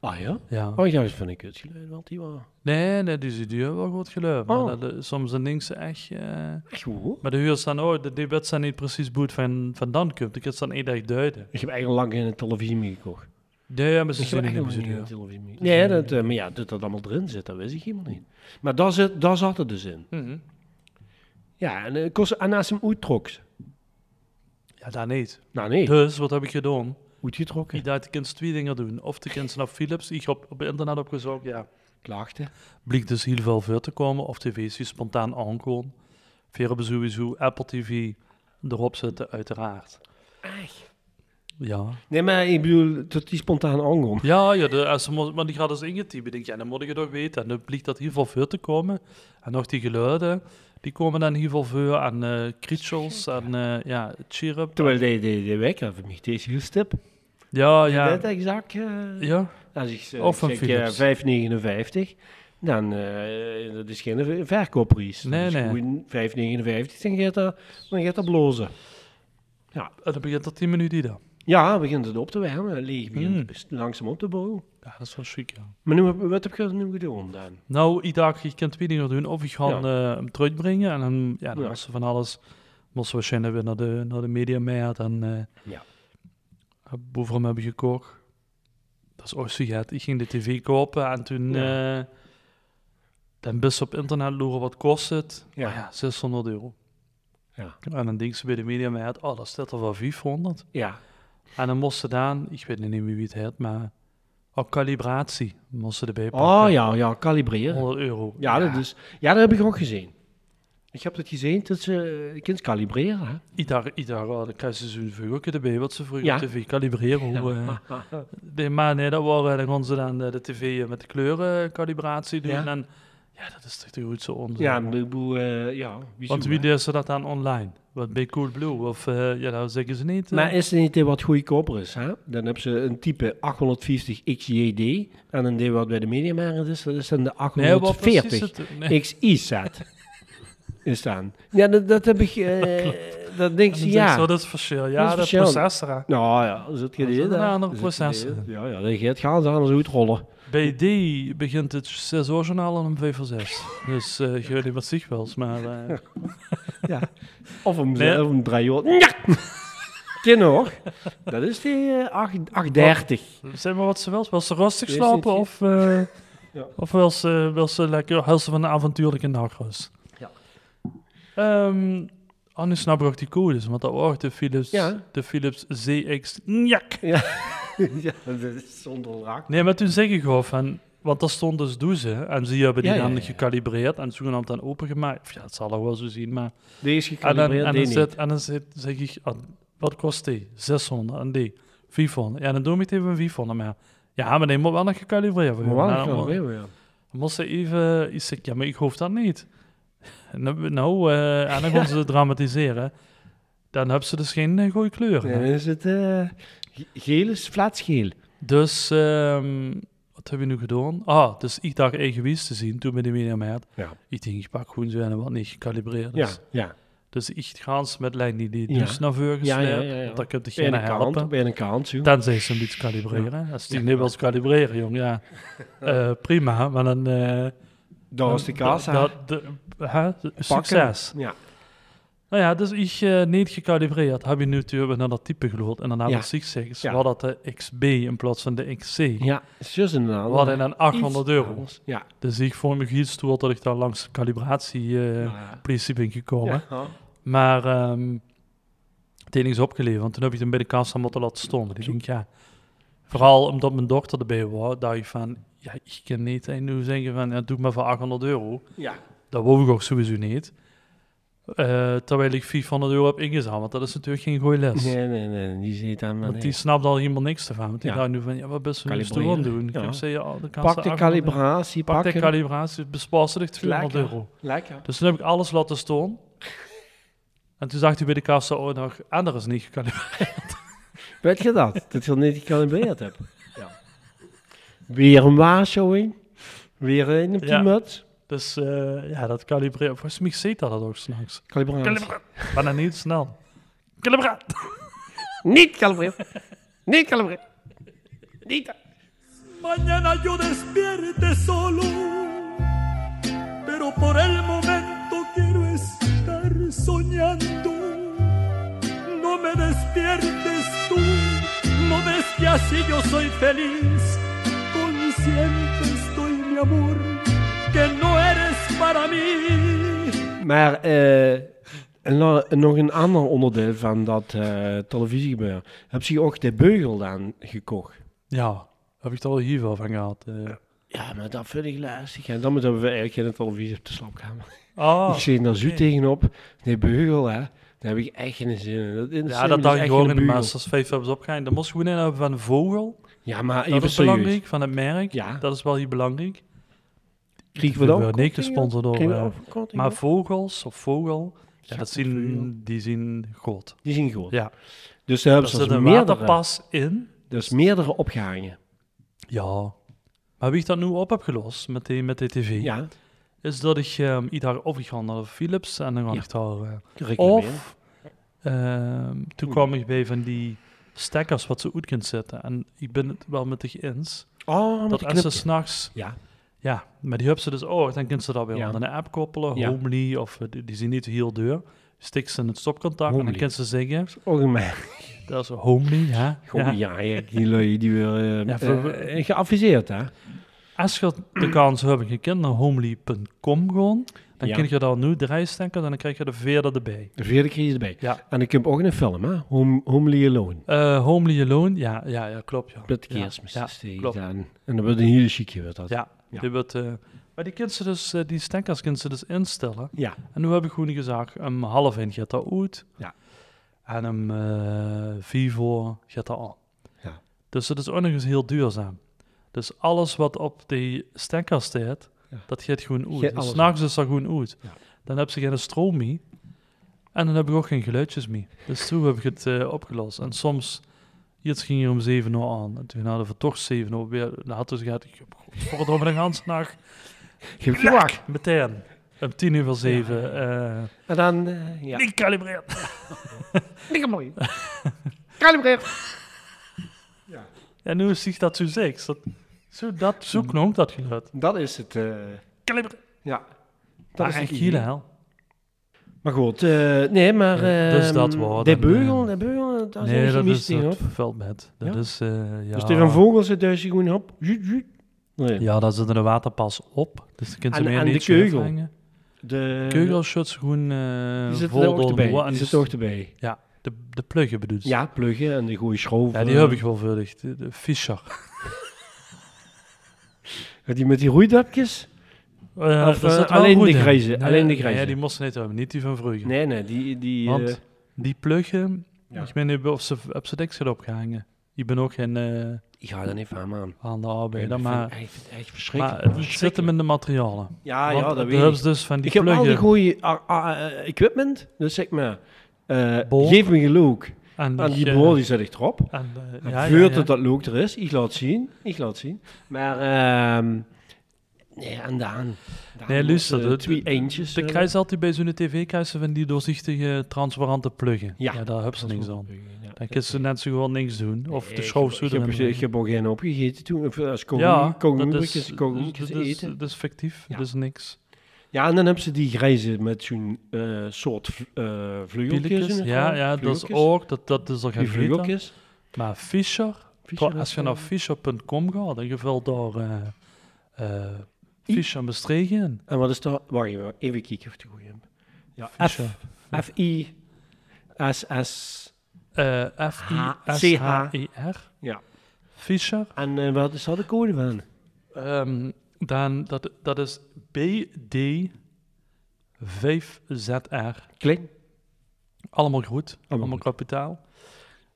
Speaker 2: Ah ja?
Speaker 1: Ja.
Speaker 2: Oh, juist van een kutgeluid, want die was...
Speaker 1: Nee, nee, die duur wel goed geluid. Maar
Speaker 2: Oh.
Speaker 1: dat, eh, soms zijn dingen echt... eh,
Speaker 2: Echt hoor.
Speaker 1: Maar de huur staan ook, de debat zijn niet precies boet van, van dan komt. Ik heb dan één dag duiden.
Speaker 2: Ik heb eigenlijk lang geen televisie meer gekocht.
Speaker 1: Nee, maar ze
Speaker 2: Ik heb
Speaker 1: zijn niet
Speaker 2: eigenlijk
Speaker 1: meer zo
Speaker 2: lang geen
Speaker 1: duur.
Speaker 2: televisie meer Nee, dat, eh, maar ja, dat dat allemaal erin zit, dat wist ik helemaal niet. Maar daar, zit, daar zat het dus in.
Speaker 1: Mhm.
Speaker 2: Ja, en, eh, kost, en naast hem uittrok.
Speaker 1: Ja, daar niet.
Speaker 2: Nou nee,
Speaker 1: Dus, wat heb ik gedaan?
Speaker 2: uitgetrokken.
Speaker 1: Ik dacht, ik kan twee dingen doen. Of de kind naar Philips, ik heb op internet opgezocht, ja.
Speaker 2: Klaagde.
Speaker 1: Bleek dus heel veel voor te komen, of tv's die spontaan aankomen. Veer hebben sowieso Apple TV erop zetten, uiteraard. Ja.
Speaker 2: Nee, maar ik bedoel, dat die spontaan aankomt.
Speaker 1: Ja, ja de, als ze mo- maar die gaat dus ingetypen. Ik denk, ja, dan moet ik het ook weten. En dan blijkt dat hier veel voor te komen. En nog die geluiden, die komen dan hier veel voor. En eh krietschels en eh ja, chirrup.
Speaker 2: Terwijl de, de, de wekker voor mij, die is heel stip.
Speaker 1: Ja,
Speaker 2: Ja.
Speaker 1: ja.
Speaker 2: Dat exact. eh,
Speaker 1: Ja,
Speaker 2: Als ik,
Speaker 1: Of
Speaker 2: of
Speaker 1: van
Speaker 2: ik
Speaker 1: Philips.
Speaker 2: zeg eh, 5,59, dan eh dat is geen ver- verkoopprijs.
Speaker 1: Nee,
Speaker 2: dat
Speaker 1: nee.
Speaker 2: is gewoon 5,59, dan gaat dat, dan gaat dat blozen.
Speaker 1: en dan begint dat 10 minuten dan.
Speaker 2: Ja, begint het op te wärmen. Leeg begint
Speaker 1: Mm.
Speaker 2: best- langzaam op te bouwen.
Speaker 1: Ja, dat is wel chic, ja.
Speaker 2: Maar nu, heb- wat heb je nu gedaan dan?
Speaker 1: Nou, ik dacht, je kunt weniger doen. Of ik ga
Speaker 2: Ja.
Speaker 1: eh, hem terugbrengen. En dan, ja, dan
Speaker 2: Ja.
Speaker 1: was er van alles. Moest we waarschijnlijk weer naar de, naar de media mee. En eh
Speaker 2: Ja.
Speaker 1: boven hem hebben gekocht. Dat is ook zo gehad. Ik ging de tv kopen en toen... eh dan best op internet loeren wat kost het.
Speaker 2: Ja.
Speaker 1: Maar Ah, ja, 600 euro.
Speaker 2: Ja.
Speaker 1: En dan denk ze bij de media mee had, oh, dat staat er wel 500.
Speaker 2: Ja,
Speaker 1: En dan moesten dan, ik weet niet meer wie het heet, maar ook calibratie moesten erbij
Speaker 2: oh ja, ja, kalibreren.
Speaker 1: 100 euro.
Speaker 2: Ja, Dat is, ja, dat heb ik ook gezien. Ik heb dat gezien, dat ze, je kunt kalibreren. Hè?
Speaker 1: Ieder, ieder uh, kerstseizoen vroeg ook erbij, wat ze vroeger
Speaker 2: Ja.
Speaker 1: op tv kalibreren. Hoe, eh nee, maar nee, dat waren, dan gaan ze dan eh, de, de tv met de kleurencalibratie doen.
Speaker 2: Ja.
Speaker 1: En, ja, dat is toch de goedste onzin.
Speaker 2: ja, maar ik bedoel, eh, ja, wie
Speaker 1: Want
Speaker 2: zo,
Speaker 1: wie
Speaker 2: hè?
Speaker 1: deed ze dat dan online? Wat bij Coolblue? Of, eh, ja, dat zeggen ze niet. eh.
Speaker 2: Maar is het niet wat goedkoper is? Hè? Dan hebben ze een type 850 XJD. En een deel wat bij de Mediamarkt is, dat is dan de
Speaker 1: nee, wat precies
Speaker 2: 840
Speaker 1: het- nee.
Speaker 2: XIZ. *laughs* Is dan. Ja, dat, dat
Speaker 1: *laughs*
Speaker 2: heb ik... eh, dat denk
Speaker 1: En
Speaker 2: je,
Speaker 1: dan zeggen
Speaker 2: ja.
Speaker 1: ze, oh, dat is verschil. Ja,
Speaker 2: is
Speaker 1: dat,
Speaker 2: verschil.
Speaker 1: processor. hè.
Speaker 2: Nou ja, is het
Speaker 1: Dat is
Speaker 2: gedeeld.
Speaker 1: een
Speaker 2: hè?
Speaker 1: andere
Speaker 2: Is het
Speaker 1: processor.
Speaker 2: gedeeld? Ja, ja, dat gaat gaan ze anders uitrollen.
Speaker 1: Bij die begint het 6 uur journaal om 5 voor 6. dus eh ik weet niet wat zich wel is, maar... eh,
Speaker 2: Ja. Of om,
Speaker 1: Nee.
Speaker 2: of om drie uur. Ja! *laughs* Ken hoor. Dat is die eh, acht- 830.
Speaker 1: Zeg maar wat ze wel. Wil ze rustig
Speaker 2: Is
Speaker 1: slapen
Speaker 2: dit-
Speaker 1: of, eh
Speaker 2: *laughs* Ja.
Speaker 1: of wil, ze, wil ze lekker wil ze van een avontuurlijke nachtrust?
Speaker 2: Ja.
Speaker 1: Ehm, oh, nu snap ik ook die codes, want dat wordt de Philips,
Speaker 2: Ja.
Speaker 1: de Philips ZX. Njak.
Speaker 2: *laughs* ja, dat is zonder raak.
Speaker 1: Nee, maar toen zeg ik gewoon van, want daar stond dus douze en ze hebben die
Speaker 2: Ja, ja,
Speaker 1: dan
Speaker 2: ja, ja.
Speaker 1: gecalibreerd en zogenaamd dan opengemaakt. Of Ja, het zal er wel zo zien, maar...
Speaker 2: Die is
Speaker 1: En Ah, dan,
Speaker 2: gecalibreerd,
Speaker 1: en
Speaker 2: die
Speaker 1: dan,
Speaker 2: niet.
Speaker 1: zit, en dan zit, zeg ik, ah, wat kost die? 600 en die? 500. Ja, dan doe ik het even 500 maar. Ja, maar die moet wel nog gecalibreerd worden.
Speaker 2: Maar wel
Speaker 1: Nou,
Speaker 2: een
Speaker 1: moet-
Speaker 2: calibreer, ja.
Speaker 1: Dan moest ze even... Ik zeg, ja, maar ik hoef dat niet. Nou, nou, eh, en
Speaker 2: *laughs*
Speaker 1: dan gaan ze het dramatiseren. Dan hebben ze dus geen eh, goede kleur.
Speaker 2: Ja, dan is het eh, ge- geel is flaatsgeel.
Speaker 1: Dus, ehm, wat hebben we nu gedaan? Ah, dus ik dacht eigenwijs te zien toen bij de media had.
Speaker 2: Ja.
Speaker 1: Ik denk, ik pak gewoon zo en wat niet gekalibreerd
Speaker 2: Ja,
Speaker 1: is.
Speaker 2: ja.
Speaker 1: Dus ik ga ze met lijn die, die
Speaker 2: Ja.
Speaker 1: dus naar voren
Speaker 2: Ja, ja,
Speaker 1: gesleept,
Speaker 2: ja, ja.
Speaker 1: want dat kan
Speaker 2: Bij
Speaker 1: degene
Speaker 2: een kant,
Speaker 1: helpen.
Speaker 2: bij een kant, joh.
Speaker 1: Dan zijn ze een beetje kalibreren. Als die niet wil kalibreren, jong, ja.
Speaker 2: *laughs*
Speaker 1: Eh, prima, maar dan... eh,
Speaker 2: Daar is de kaas aan.
Speaker 1: dat- dat- hè, Succes.
Speaker 2: Ja,
Speaker 1: Nou ja, dus ik eh, niet gecalibreerd heb je nu natuurlijk naar dat type gelood. En dan hebben
Speaker 2: Ja.
Speaker 1: we zich zeggen, ze
Speaker 2: Ja.
Speaker 1: hadden dat de XB in plaats van de XC.
Speaker 2: ja. Zus inderdaad.
Speaker 1: We hadden dan 800
Speaker 2: Iets
Speaker 1: euro.
Speaker 2: anders. Ja.
Speaker 1: Dus ik vond me iets toe dat ik daar langs de calibratieprincipe
Speaker 2: Ja.
Speaker 1: ben gekomen.
Speaker 2: Ja.
Speaker 1: Maar ehm het enige is opgeleverd, want toen heb ik hem bij de kassa moeten laten stonden. Ik denk, ja, vooral omdat mijn dochter erbij was, dacht ik van, ja, ik kan niet en nu zeggen van, ja, doe maar voor 800 euro.
Speaker 2: ja.
Speaker 1: Dat wou ik ook sowieso niet. Eh, terwijl ik 500 euro heb ingezameld. Want dat is natuurlijk geen goede les.
Speaker 2: Nee, nee, nee. Die zit aan
Speaker 1: Want
Speaker 2: mijn...
Speaker 1: die snapt al helemaal niks ervan. Want die
Speaker 2: Ja.
Speaker 1: dacht nu van, ja, wat best wel moest
Speaker 2: Kalibreren.
Speaker 1: gewoon doen. Ik
Speaker 2: Ja.
Speaker 1: heb zei, ja, de kans
Speaker 2: Pak de
Speaker 1: erachter-
Speaker 2: calibratie,
Speaker 1: Pak
Speaker 2: pak
Speaker 1: de
Speaker 2: hem.
Speaker 1: calibratie, bespaar ze echt 200
Speaker 2: Lekker.
Speaker 1: euro.
Speaker 2: Lekker.
Speaker 1: Dus toen heb ik alles laten staan. En toen zag hij bij de kassa ook nog, en er is niet gekalibreerd.
Speaker 2: Weet je dat? Dat je niet gecalibreerd hebt. *laughs* Ja. Weer een waarschuwing. Weer een op die
Speaker 1: Ja.
Speaker 2: muts.
Speaker 1: Dus eh, ja, dat kalibreren. Volgens mij ziet dat dat ook s'nachts.
Speaker 2: Calibratie.
Speaker 1: Maar dan niet snel. Kalibraat!
Speaker 2: Niet kalibreerd. Niet kalibreerd. Niet...
Speaker 4: Mañana yo despierte solo, pero por el momento quiero estar soñando. No me despiertes tú, no ves que así yo soy feliz. Consciente estoy, mi amor, que no eres para mí.
Speaker 2: Maar eh, en dan nog een ander onderdeel van dat eh, televisiegebeuren. Heb je ook de beugel dan gekocht?
Speaker 1: Ja, heb ik er al hier wel van gehad. eh.
Speaker 2: Ja, maar dat vind ik lastig. Oh, En dan moeten we eigenlijk in de televisie op de slaapkamer.
Speaker 1: Ah.
Speaker 2: ik zie daar zo
Speaker 1: oké.
Speaker 2: tegenop. Die beugel, hè. Daar heb ik echt geen zin in. Dat dus
Speaker 1: Ja, dat dacht ik
Speaker 2: gewoon
Speaker 1: gewoon in de Masters 5 hebben ze opgegaan. Dan moest je gewoon in hebben van een vogel.
Speaker 2: Ja, maar
Speaker 1: Dat
Speaker 2: even
Speaker 1: is
Speaker 2: serieus.
Speaker 1: belangrijk, van het merk.
Speaker 2: Ja.
Speaker 1: Dat is wel hier belangrijk.
Speaker 2: Kriegen
Speaker 1: We
Speaker 2: we dan?
Speaker 1: hebben niet gesponsord door... eh, maar
Speaker 2: Maar
Speaker 1: vogels of vogel, ja,
Speaker 2: Ja,
Speaker 1: dat zien,
Speaker 2: vogel.
Speaker 1: die zien goed.
Speaker 2: die zien goed.
Speaker 1: Ja.
Speaker 2: Dus
Speaker 1: Er
Speaker 2: daar hebben ze
Speaker 1: zit
Speaker 2: dus
Speaker 1: een
Speaker 2: meerdere.
Speaker 1: waterpas in.
Speaker 2: Dus meerdere opgehangen.
Speaker 1: Ja. Maar wie ik dat nu op heb gelost met die, met die tv,
Speaker 2: Ja,
Speaker 1: is dat ik ehm ieder of ik ga naar Philips en dan ga
Speaker 2: Ja.
Speaker 1: ik daar... eh,
Speaker 2: reclameren.
Speaker 1: of ehm, toen
Speaker 2: Oei.
Speaker 1: kwam ik bij van die stekkers wat ze goed kunt zetten. En ik ben het wel met je eens.
Speaker 2: Oh, met
Speaker 1: Dat
Speaker 2: de
Speaker 1: als ze
Speaker 2: knop.
Speaker 1: s'nachts...
Speaker 2: Ja,
Speaker 1: Ja, maar die hebben ze dus ook. Dan kunnen ze dat weer
Speaker 2: Ja.
Speaker 1: aan een app koppelen.
Speaker 2: Ja.
Speaker 1: Homely, of eh, die, die zien niet heel duur. Stik ze in het stopcontact en
Speaker 2: Homely.
Speaker 1: dan kunnen ze zeggen...
Speaker 2: ongemerkt.
Speaker 1: Dat is homely, hè?
Speaker 2: Goh,
Speaker 1: Ja.
Speaker 2: ja, ja, die lui die weer eh,
Speaker 1: Ja, voor-
Speaker 2: eh, eh, geadviseerd, hè?
Speaker 1: Als je de kans hebt, je kent naar homely.com gewoon. Dan
Speaker 2: Ja.
Speaker 1: kun je daar nu de rijstekkers en dan krijg je de veerder erbij.
Speaker 2: De vierde keer je erbij.
Speaker 1: Ja.
Speaker 2: En ik heb ook in een film, hè? Home, Homely Alone.
Speaker 1: Eh, homely alone, ja, ja, ja klopt. Ja.
Speaker 2: Met
Speaker 1: Ja,
Speaker 2: kerstmis
Speaker 1: ja,
Speaker 2: is die
Speaker 1: klopt.
Speaker 2: gedaan. En dan wordt een hele chique wordt dat.
Speaker 1: Ja,
Speaker 2: Ja.
Speaker 1: Die wordt, eh, maar die, kunt ze dus, eh, die stekkers kunnen ze dus instellen.
Speaker 2: Ja.
Speaker 1: En nu heb ik gewoon gezegd, om half in gaat dat uit.
Speaker 2: Ja.
Speaker 1: En om eh, vier voor gaat dat aan.
Speaker 2: Ja.
Speaker 1: Dus het is ook nog eens heel duurzaam. Dus alles wat op die stekker staat,
Speaker 2: Ja.
Speaker 1: dat gaat gewoon
Speaker 2: Gaat
Speaker 1: uit. Dus
Speaker 2: alles
Speaker 1: s'nachts is dat gewoon uit.
Speaker 2: Ja.
Speaker 1: Dan heb ze geen stroom mee. En dan heb ik ook geen geluidjes mee. Dus toen heb ik het eh, opgelost. En soms, iets ging hier om 7 uur aan. En toen hadden we toch 7 uur weer. Dan had dus gehad, ik heb godverdomme de ganse nacht.
Speaker 2: Je hebt gewacht.
Speaker 1: Meteen. Om 10 uur van 7. eh,
Speaker 2: En dan, eh, ja.
Speaker 1: Niet kalibreerd.
Speaker 2: Likke mooi. Kalibreer.
Speaker 1: Ja, nu zie ik dat zo seks. Dat, zo dat, zo klonk dat geluid.
Speaker 2: Dat is het, eh,
Speaker 1: Kalibreerd.
Speaker 2: ja.
Speaker 1: Dat is
Speaker 2: het
Speaker 1: echt
Speaker 2: idee.
Speaker 1: heel hel.
Speaker 2: Maar goed, eh, nee, maar...
Speaker 1: Ja, dus
Speaker 2: ehm,
Speaker 1: dat wel,
Speaker 2: De
Speaker 1: dan, eh,
Speaker 2: beugel, de beugel, dat is
Speaker 1: nee,
Speaker 2: een
Speaker 1: dat
Speaker 2: chemisch
Speaker 1: is
Speaker 2: ding, hoor.
Speaker 1: het veldbed. Dat
Speaker 2: Ja?
Speaker 1: is, eh, ja.
Speaker 2: Dus er een vogel zit dus gewoon op. Zoet, zoet. Nee.
Speaker 1: Ja, daar zit een waterpas op. Dus dan kunt ze
Speaker 2: En-
Speaker 1: meer
Speaker 2: en de
Speaker 1: niet
Speaker 2: keugel.
Speaker 1: hangen.
Speaker 2: De
Speaker 1: Keugelshots gewoon eh
Speaker 2: Die zit er
Speaker 1: vol
Speaker 2: ook
Speaker 1: door de
Speaker 2: erbij.
Speaker 1: wa- en
Speaker 2: Die
Speaker 1: die
Speaker 2: zit er ook erbij.
Speaker 1: Ja, de, de pluggen bedoelt. ze.
Speaker 2: Ja, pluggen en de goede schroef.
Speaker 1: Ja, die heb ik wel veelvuldig. De, de Fischer.
Speaker 2: Die met die roeidapjes?
Speaker 1: Eh,
Speaker 2: Of,
Speaker 1: daar
Speaker 2: eh,
Speaker 1: zit wel
Speaker 2: alleen de
Speaker 1: roet in.
Speaker 2: grijze,
Speaker 1: Nee,
Speaker 2: alleen de grijze.
Speaker 1: Nee, die moesten niet hebben. Niet die van vroeger.
Speaker 2: Nee, nee, die... die
Speaker 1: Want
Speaker 2: eh,
Speaker 1: die pluggen,
Speaker 2: Ja.
Speaker 1: ik weet niet of ze op zijn deksel opgehangen. Ik ben ook geen eh,
Speaker 2: ik ga er niet van aan.
Speaker 1: aan de arbeid,
Speaker 2: dat vind
Speaker 1: maar,
Speaker 2: ik echt- echt
Speaker 1: maar
Speaker 2: verschrikkelijk.
Speaker 1: het zit hem
Speaker 2: Verschrikkelijk.
Speaker 1: in de materialen.
Speaker 2: Ah, Ja,
Speaker 1: Want
Speaker 2: ja, dat
Speaker 1: hebben
Speaker 2: weet
Speaker 1: ze
Speaker 2: ik.
Speaker 1: dus van die
Speaker 2: Ik heb al die
Speaker 1: pluggen
Speaker 2: goede ah, ah, eh, equipment, dus zeg maar, eh,
Speaker 1: Bol.
Speaker 2: geef me je look.
Speaker 1: en
Speaker 2: En die
Speaker 1: eh,
Speaker 2: broer die zet ik erop.
Speaker 1: en, eh,
Speaker 2: En
Speaker 1: ja, ja,
Speaker 2: vuurt
Speaker 1: ja.
Speaker 2: het dat look er is, ik laat zien, ik laat zien. Maar, ehm nee, en Daan. Daan
Speaker 1: Nee,
Speaker 2: moet,
Speaker 1: luister,
Speaker 2: eh,
Speaker 1: de-
Speaker 2: twee eentjes.
Speaker 1: De
Speaker 2: eh,
Speaker 1: kruis altijd bij zo'n tv kruisen van die doorzichtige, transparante pluggen.
Speaker 2: Ja.
Speaker 1: Ja, daar hebben ze
Speaker 2: dat
Speaker 1: niks
Speaker 2: moet-
Speaker 1: aan.
Speaker 2: ja,
Speaker 1: Dan kunnen ze net zo gewoon niks doen. Of
Speaker 2: Nee,
Speaker 1: de
Speaker 2: Eh, ik
Speaker 1: schoof
Speaker 2: heb-
Speaker 1: zo
Speaker 2: Ik heb,
Speaker 1: erin.
Speaker 2: ik heb ook geen opgegeten toen, of eh, als
Speaker 1: Ja, dat is, dus, eh,
Speaker 2: kogelmoedertjes
Speaker 1: dat is-
Speaker 2: eten.
Speaker 1: dat is fictief,
Speaker 2: Ja.
Speaker 1: dat is niks.
Speaker 2: Ja, en dan hebben ze die grijze met zo'n eh, soort v- eh vleugeltjes.
Speaker 1: Pilletjes,
Speaker 2: in
Speaker 1: ja,
Speaker 2: elkaar.
Speaker 1: ja, dat is
Speaker 2: Vleugeltjes.
Speaker 1: ook, dat, dat is al
Speaker 2: Die
Speaker 1: gaan
Speaker 2: vleugeltjes.
Speaker 1: Maar Fischer, Twa- als je
Speaker 2: nou
Speaker 1: naar fischer.com gaat en je vult daar eh eh,
Speaker 2: I-
Speaker 1: Fischer Bestregen in.
Speaker 2: En wat is dat? Wacht even, even kijken of ik het goed heb. Ja, F,
Speaker 1: Fischer.
Speaker 2: F, I, S, S.
Speaker 1: Eh, F-I-S-H-E-R.
Speaker 2: Ja.
Speaker 1: Fischer.
Speaker 2: En eh, wat is daar de code van?
Speaker 1: Ehm, dan, dat, dat is BD5ZR.
Speaker 2: Klein.
Speaker 1: Allemaal goed, allemaal,
Speaker 2: goed.
Speaker 1: kapitaal.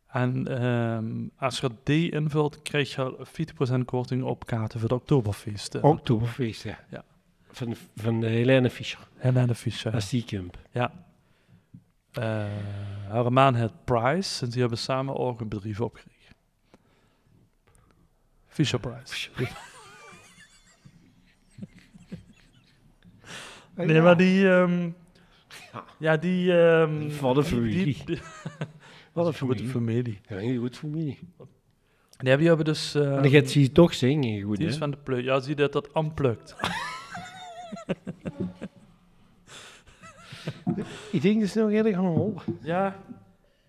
Speaker 1: En ehm, als je D invult, krijg je 40% korting op kaarten voor de Oktoberfeest. eh,
Speaker 2: Oktoberfeest, ja.
Speaker 1: Ja.
Speaker 2: Van, van de Helene Fischer.
Speaker 1: Helene Fischer.
Speaker 2: Als die kamp.
Speaker 1: Eh, haar man het Price en die hebben samen ook een bedrijf opgericht. Fisher Price. *laughs* Nee, maar die... ehm,
Speaker 2: Ja.
Speaker 1: ja, die... ehm,
Speaker 2: Wat een
Speaker 1: die- die-
Speaker 2: *laughs* Wat een
Speaker 1: Goede
Speaker 2: familie.
Speaker 1: familie.
Speaker 2: Ja, heel goed familie.
Speaker 1: Nee, die hebben dus...
Speaker 2: En
Speaker 1: ehm,
Speaker 2: dan gaat ze hier toch zingen, goed,
Speaker 1: die
Speaker 2: hè?
Speaker 1: is van de plug. Ja, zie dat dat unplugged.
Speaker 2: Ik denk dat ze nog eerder gaan horen.
Speaker 1: ja.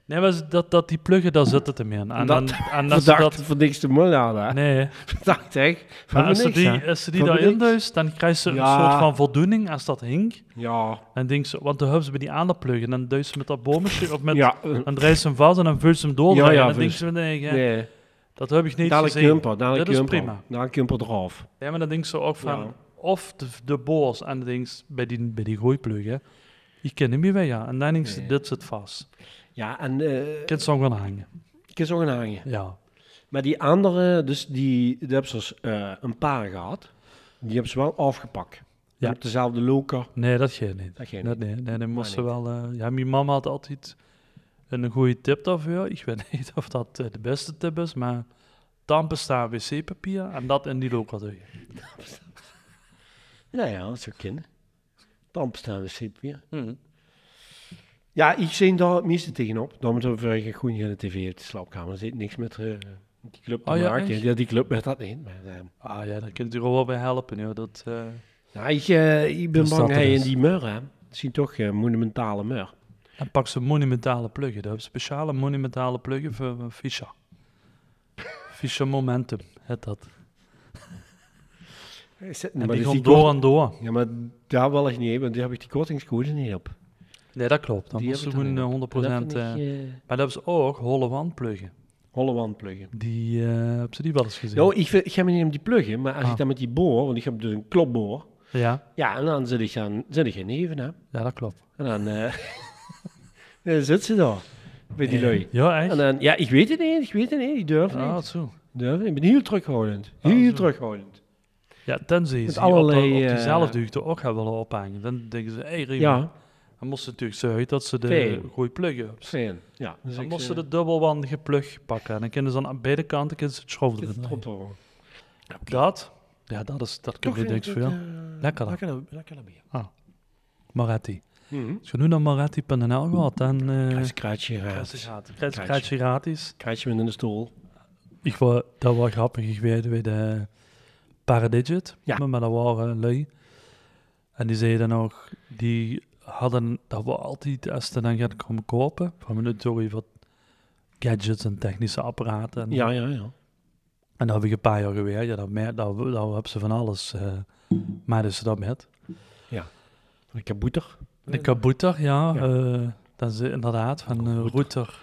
Speaker 1: Nee, maar ze- dat, dat die pluggen, daar zit het hem in. En,
Speaker 2: Dat-
Speaker 1: dan, en als ze
Speaker 2: Verdacht
Speaker 1: dat...
Speaker 2: voor niks te mullen hadden, hè?
Speaker 1: Nee,
Speaker 2: Verdacht, hè? Van
Speaker 1: maar als ze
Speaker 2: niks,
Speaker 1: die,
Speaker 2: hè?
Speaker 1: als ze die
Speaker 2: Van
Speaker 1: daarin
Speaker 2: niks.
Speaker 1: duist, dan krijgt ze
Speaker 2: Ja.
Speaker 1: een soort van voldoening als dat hing.
Speaker 2: Ja.
Speaker 1: En denk ze, want dan hebben ze bij die aandaplug en dan duist ze met dat bomenje of met...
Speaker 2: ja.
Speaker 1: Dan draait ze hem vast en dan vult ze hem door.
Speaker 2: Ja, ja,
Speaker 1: en dan
Speaker 2: vult
Speaker 1: denkt ze van, nee, ja,
Speaker 2: Nee.
Speaker 1: dat heb ik niet
Speaker 2: Dadelijk
Speaker 1: gezien.
Speaker 2: jumper, dadelijk
Speaker 1: Dat is
Speaker 2: jumper.
Speaker 1: prima.
Speaker 2: Dadelijk jumper eraf.
Speaker 1: Ja, maar dan denkt ze ook van,
Speaker 2: Ja.
Speaker 1: of de, de boos en dan denkt ze, bij die, bij die gooiplug, hè. Ik ken hem niet weg, ja. En dan denkt ze,
Speaker 2: Nee.
Speaker 1: dit zit vast.
Speaker 2: Ja, en eh
Speaker 1: Ik kan ze ook gaan hangen.
Speaker 2: ik is ook een hangen.
Speaker 1: Ja.
Speaker 2: Maar die andere, dus die, die hebben ze als, eh, een paar gehad. Die hebben ze wel afgepakt.
Speaker 1: Ja.
Speaker 2: Op dezelfde loker.
Speaker 1: Nee, dat geeft niet.
Speaker 2: Dat ging
Speaker 1: Nee, nee, nee, dan moest ze
Speaker 2: niet.
Speaker 1: wel... eh, ja, mijn mama had altijd een goede tip daarvoor. Ik weet *laughs* niet of dat eh, de beste tip is, maar tampen staan wc-papier en dat in die loka doe je.
Speaker 2: Nou ja, dat zou kunnen. Dan bestaan we sip weer. Ja, ik zie daar het meeste tegenop. Dan moeten we echt goed in de tv uit de slaapkamer. Er zit niks met eh, die club te
Speaker 1: Oh ja,
Speaker 2: maken.
Speaker 1: echt?
Speaker 2: Ja, die club met dat niet. Maar, eh,
Speaker 1: Ah ja, daar kunt u er wel bij helpen. Joh. Dat, eh,
Speaker 2: nou, ik, eh, ik ben
Speaker 1: Dus
Speaker 2: bang
Speaker 1: dat
Speaker 2: hij
Speaker 1: er
Speaker 2: in
Speaker 1: is.
Speaker 2: die mur, hè. Het is toch eh, monumentale mur.
Speaker 1: En pak ze monumentale pluggen. Dat hebben speciale monumentale pluggen voor eh,
Speaker 2: *laughs*
Speaker 1: Fischer. Fischer Momentum, het dat. En
Speaker 2: maar
Speaker 1: die
Speaker 2: dus
Speaker 1: gaan
Speaker 2: die
Speaker 1: door
Speaker 2: kort-
Speaker 1: en door.
Speaker 2: Ja, maar daar wel echt niet, hè, want daar heb ik die kortingscode niet op.
Speaker 1: Nee, dat klopt. Dan
Speaker 2: Die
Speaker 1: moeten ze
Speaker 2: heb ik
Speaker 1: gewoon eh,
Speaker 2: dan
Speaker 1: 100%. eh, maar dat is ook holle wandpluggen.
Speaker 2: holle wand pluggen.
Speaker 1: Die eh hebben ze die wel eens gezien.
Speaker 2: Nou, ik, vind- ik ga me niet om die pluggen, maar als
Speaker 1: Ah.
Speaker 2: ik dan met die boor, want ik heb dus een klopboor.
Speaker 1: Ja,
Speaker 2: Ja, en dan zit ik, dan, zit ik in even, hè.
Speaker 1: ja, dat klopt.
Speaker 2: En dan, eh, *laughs* dan zit ze daar, bij die lui.
Speaker 1: Ja,
Speaker 2: En
Speaker 1: echt?
Speaker 2: dan, ja, eh, ik weet het niet, ik weet het niet, die durft niet.
Speaker 1: Ah, zo.
Speaker 2: Durf niet. Ik ben heel terughoudend, heel
Speaker 1: Ah, zo.
Speaker 2: terughoudend.
Speaker 1: Ja, tenzij ze
Speaker 2: Met
Speaker 1: die op,
Speaker 2: allerlei,
Speaker 1: op
Speaker 2: eh,
Speaker 1: diezelfde hoogte ook gaan willen ophangen. Dan denken ze, hé hey, Riemen.
Speaker 2: Ja,
Speaker 1: Dan moesten ze natuurlijk zo uit dat ze de
Speaker 2: Fijn.
Speaker 1: goede pluggen hebben.
Speaker 2: fijn. Ja, dus
Speaker 1: Dan
Speaker 2: ik,
Speaker 1: moesten
Speaker 2: eh,
Speaker 1: de dubbelwandige plug pakken. En dan kunnen ze dan aan beide kanten kunnen ze het schroef
Speaker 2: dit
Speaker 1: erin leggen.
Speaker 2: erop houden.
Speaker 1: Dat, ja, dat is, dat kan
Speaker 2: Toch
Speaker 1: niet
Speaker 2: vind
Speaker 1: niks
Speaker 2: ik
Speaker 1: veel.
Speaker 2: het, eh,
Speaker 1: Lekkerder.
Speaker 2: Lekkerder, lekkerder bier.
Speaker 1: Moretti.
Speaker 2: Mhm.
Speaker 1: Als je nu naar moretti.nl gaat, dan... eh
Speaker 2: Krijs- krijsje, eh,
Speaker 1: krijg je krijg je gratis.
Speaker 2: krijsje met in de stoel.
Speaker 1: Ik wou, dat was grappig geweest bij de Paradigit.
Speaker 2: Ja.
Speaker 1: eh, Maar, maar dat waren lui. En die zeiden nog, die hadden, dat we altijd, als ze dan gaan komen kopen, van we natuurlijk wat gadgets en technische apparaten. En,
Speaker 2: Ja, ja, ja.
Speaker 1: en dat heb ik een paar jaar geweest. Ja, dat, mer- dat, dat hebben ze van alles. eh maar dus dat met.
Speaker 2: Ik heb boeter.
Speaker 1: De kabouter, ja.
Speaker 2: Ja.
Speaker 1: eh, dat is inderdaad van eh, router.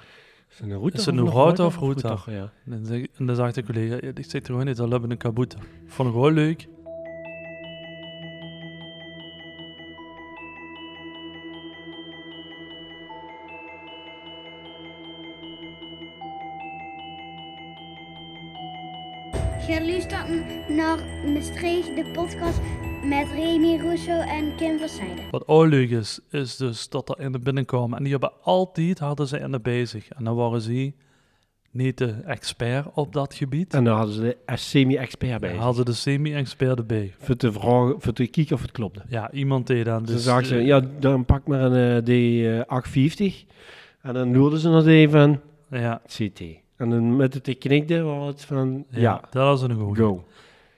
Speaker 2: Is het een router?
Speaker 1: Is het
Speaker 2: of
Speaker 1: een router of
Speaker 2: router?
Speaker 1: router?
Speaker 2: Ja.
Speaker 1: En dan zeg- en dan zegt de collega, "Ja, ik zeg er gewoon niet, dat hebben een kabouter. Vond ik wel leuk.
Speaker 5: Je luistert naar Maastricht, de podcast met Remy Russo en Kim Versijden.
Speaker 1: Wat ook leuk is, is dus dat er in de binnenkomen. En die hebben altijd, hadden ze in de bezig. En dan waren ze niet de expert op dat gebied.
Speaker 2: En dan hadden ze de eh, semi-expert bij.
Speaker 1: En
Speaker 2: zich.
Speaker 1: hadden ze de semi-expert erbij.
Speaker 2: Voor te vragen, voor te kijken of het klopte.
Speaker 1: Ja, iemand deed dan.
Speaker 2: Dus
Speaker 1: Dus,
Speaker 2: dan ze, ja, dan pak maar een eh, D850. En dan loerden ze nog even
Speaker 1: eh, ja,
Speaker 2: CT. En dan met het knikde was het van,
Speaker 1: ja,
Speaker 2: ja,
Speaker 1: dat was een goeie.
Speaker 2: go.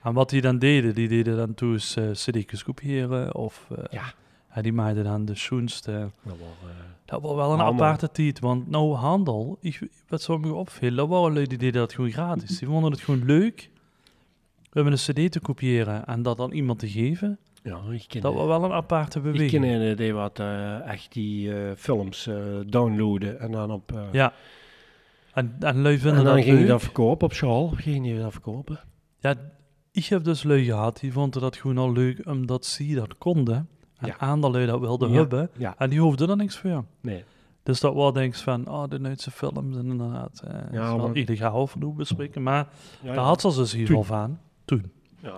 Speaker 1: En wat die dan deden, die deden dan toen eens eh CD kopiëren. Of eh,
Speaker 2: Ja.
Speaker 1: ja, die maakten dan de schoenste.
Speaker 2: Dat was, eh,
Speaker 1: Dat was wel een
Speaker 2: Handel.
Speaker 1: aparte tijd, want nou handel, ik, wat zo me opviel, dat waren lui die deden dat gewoon gratis. Die vonden het gewoon leuk om een cd te kopiëren en dat aan iemand te geven.
Speaker 2: ja, ik ken,
Speaker 1: Dat was wel een aparte
Speaker 2: ik ken
Speaker 1: beweging.
Speaker 2: een die wat eh, echt die eh, films eh, downloaden en dan op... eh,
Speaker 1: Ja, En, en lui vinden
Speaker 2: en dan
Speaker 1: dat
Speaker 2: ging je
Speaker 1: leuk.
Speaker 2: dat verkopen op Sjaal. Ging je dat verkopen.
Speaker 1: Ja, ik heb dus lui gehad, die vonden dat gewoon al leuk omdat ze dat konden. En
Speaker 2: Ja.
Speaker 1: aan dat lui dat wilden
Speaker 2: Ja.
Speaker 1: hebben.
Speaker 2: Ja,
Speaker 1: En die hoefden er niks voor.
Speaker 2: nee.
Speaker 1: Dus dat wel denk van, oh, de Duitse films en inderdaad. Eh, is wel
Speaker 2: maar-
Speaker 1: illegaal voor bespreken, maar
Speaker 2: Ja,
Speaker 1: daar had ze dus hier
Speaker 2: Toen.
Speaker 1: al van, toen.
Speaker 2: ja.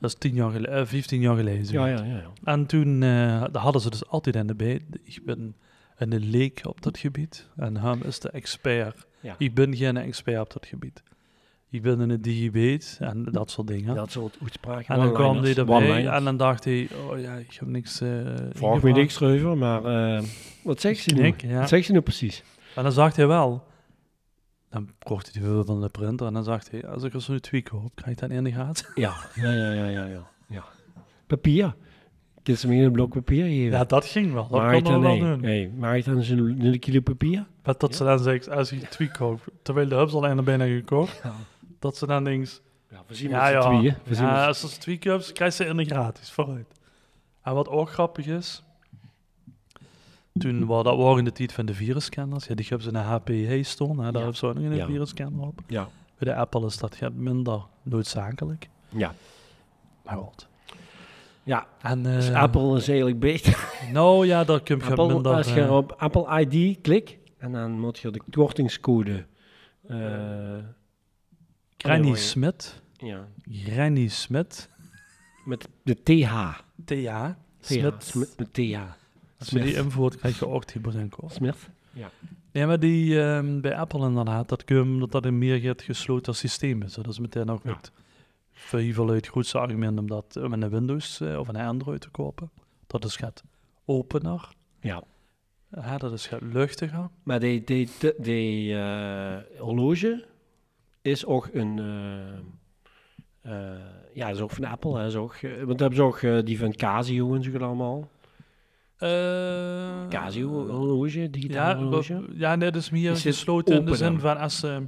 Speaker 1: Dat is 10 jaar gele- eh, 15 jaar geleden. zo.
Speaker 2: Ja, ja, ja, ja.
Speaker 1: En toen eh, daar hadden ze dus altijd in de bij. Ik ben een leek op dat gebied. En hem is de expert.
Speaker 2: Ja.
Speaker 1: Ik ben geen expert op dat gebied. Ik ben een digibet en dat soort dingen.
Speaker 2: Dat soort uitspraken.
Speaker 1: en dan kwam
Speaker 2: one-liners,
Speaker 1: hij erbij
Speaker 2: one-liners.
Speaker 1: en dan dacht hij, oh ja, ik heb niks... eh,
Speaker 2: Vraag me
Speaker 1: ingevraagd.
Speaker 2: niks over, maar eh, wat zegt ze nu?
Speaker 1: Knik, ja.
Speaker 2: Wat zegt ze nu precies?
Speaker 1: En dan zag hij wel. Dan kocht hij die wil van de printer en dan zag hij, als ik er zo'n twee koop, krijg ik dat in de gaten.
Speaker 2: Ja, ja, ja, ja, ja. ja. ja. Papier. Kun je hem een blok papier geven?
Speaker 1: *laughs* Ja, dat ging wel. Dat
Speaker 2: maar
Speaker 1: kon
Speaker 2: ik
Speaker 1: hij
Speaker 2: dan,
Speaker 1: wel
Speaker 2: nee.
Speaker 1: doen.
Speaker 2: nee. Maar ik dan zo'n een kilo papier?
Speaker 1: Maar dat ze dan zegt, als ik twee koop, terwijl de hubs al einde bijna gekocht, dat ze dan denkt,
Speaker 2: Ja, we zien
Speaker 1: ja ja,
Speaker 2: tweeën. We zien
Speaker 1: ja,
Speaker 2: met
Speaker 1: als ze twee koopt, krijgt ze in de gratis, vooruit. En wat ook grappig is, toen was dat waren de tijd van de virusscanners, ja, die hebben ze in de HPE stonden, hè, daar
Speaker 2: Ja.
Speaker 1: hebben ze ook nog een
Speaker 2: Ja.
Speaker 1: virusscanner op.
Speaker 2: z'n- ja.
Speaker 1: Bij de Apple is dat gaat minder noodzakelijk,
Speaker 2: ja.
Speaker 1: maar goed.
Speaker 2: Ja,
Speaker 1: En,
Speaker 2: dus
Speaker 1: eh,
Speaker 2: Apple is eigenlijk beter.
Speaker 1: Nou ja, dat kun je
Speaker 2: Apple,
Speaker 1: minder...
Speaker 2: als je
Speaker 1: eh,
Speaker 2: op Apple ID klikt, en dan moet je de kortingscode... eh,
Speaker 1: Granny
Speaker 2: Anyway.
Speaker 1: Smit,
Speaker 2: ja,
Speaker 1: Granny Smit,
Speaker 2: met de TH.
Speaker 1: TH,
Speaker 2: TH.
Speaker 1: Smit,
Speaker 2: Met TH.
Speaker 1: Als je die
Speaker 2: Smith.
Speaker 1: invoert, krijg je ook die bedenken.
Speaker 2: Smith.
Speaker 1: Ja, maar die ehm, bij Apple inderdaad, dat kun je omdat dat een meer gaat gesloten systeem is. Dat is meteen ook
Speaker 2: Ja.
Speaker 1: het vehivel het grootste argument om dat eh, met een Windows eh, of een Android te kopen. Dat is gaat opener,
Speaker 2: Ja.
Speaker 1: ja, dat is gaat luchtiger.
Speaker 2: Maar die, die, die, die, eh, horloge is ook een. eh, eh, ja, is ook van Apple. Hè, is ook, eh, want dan hebben ze ook eh, die van Casio en zo gedaan allemaal.
Speaker 1: Eh,
Speaker 2: Casio horloge, digitaal
Speaker 1: Ja,
Speaker 2: horloge.
Speaker 1: we- ja, nee, dat is meer
Speaker 2: Is het
Speaker 1: gesloten in de
Speaker 2: opener?
Speaker 1: zin van als ze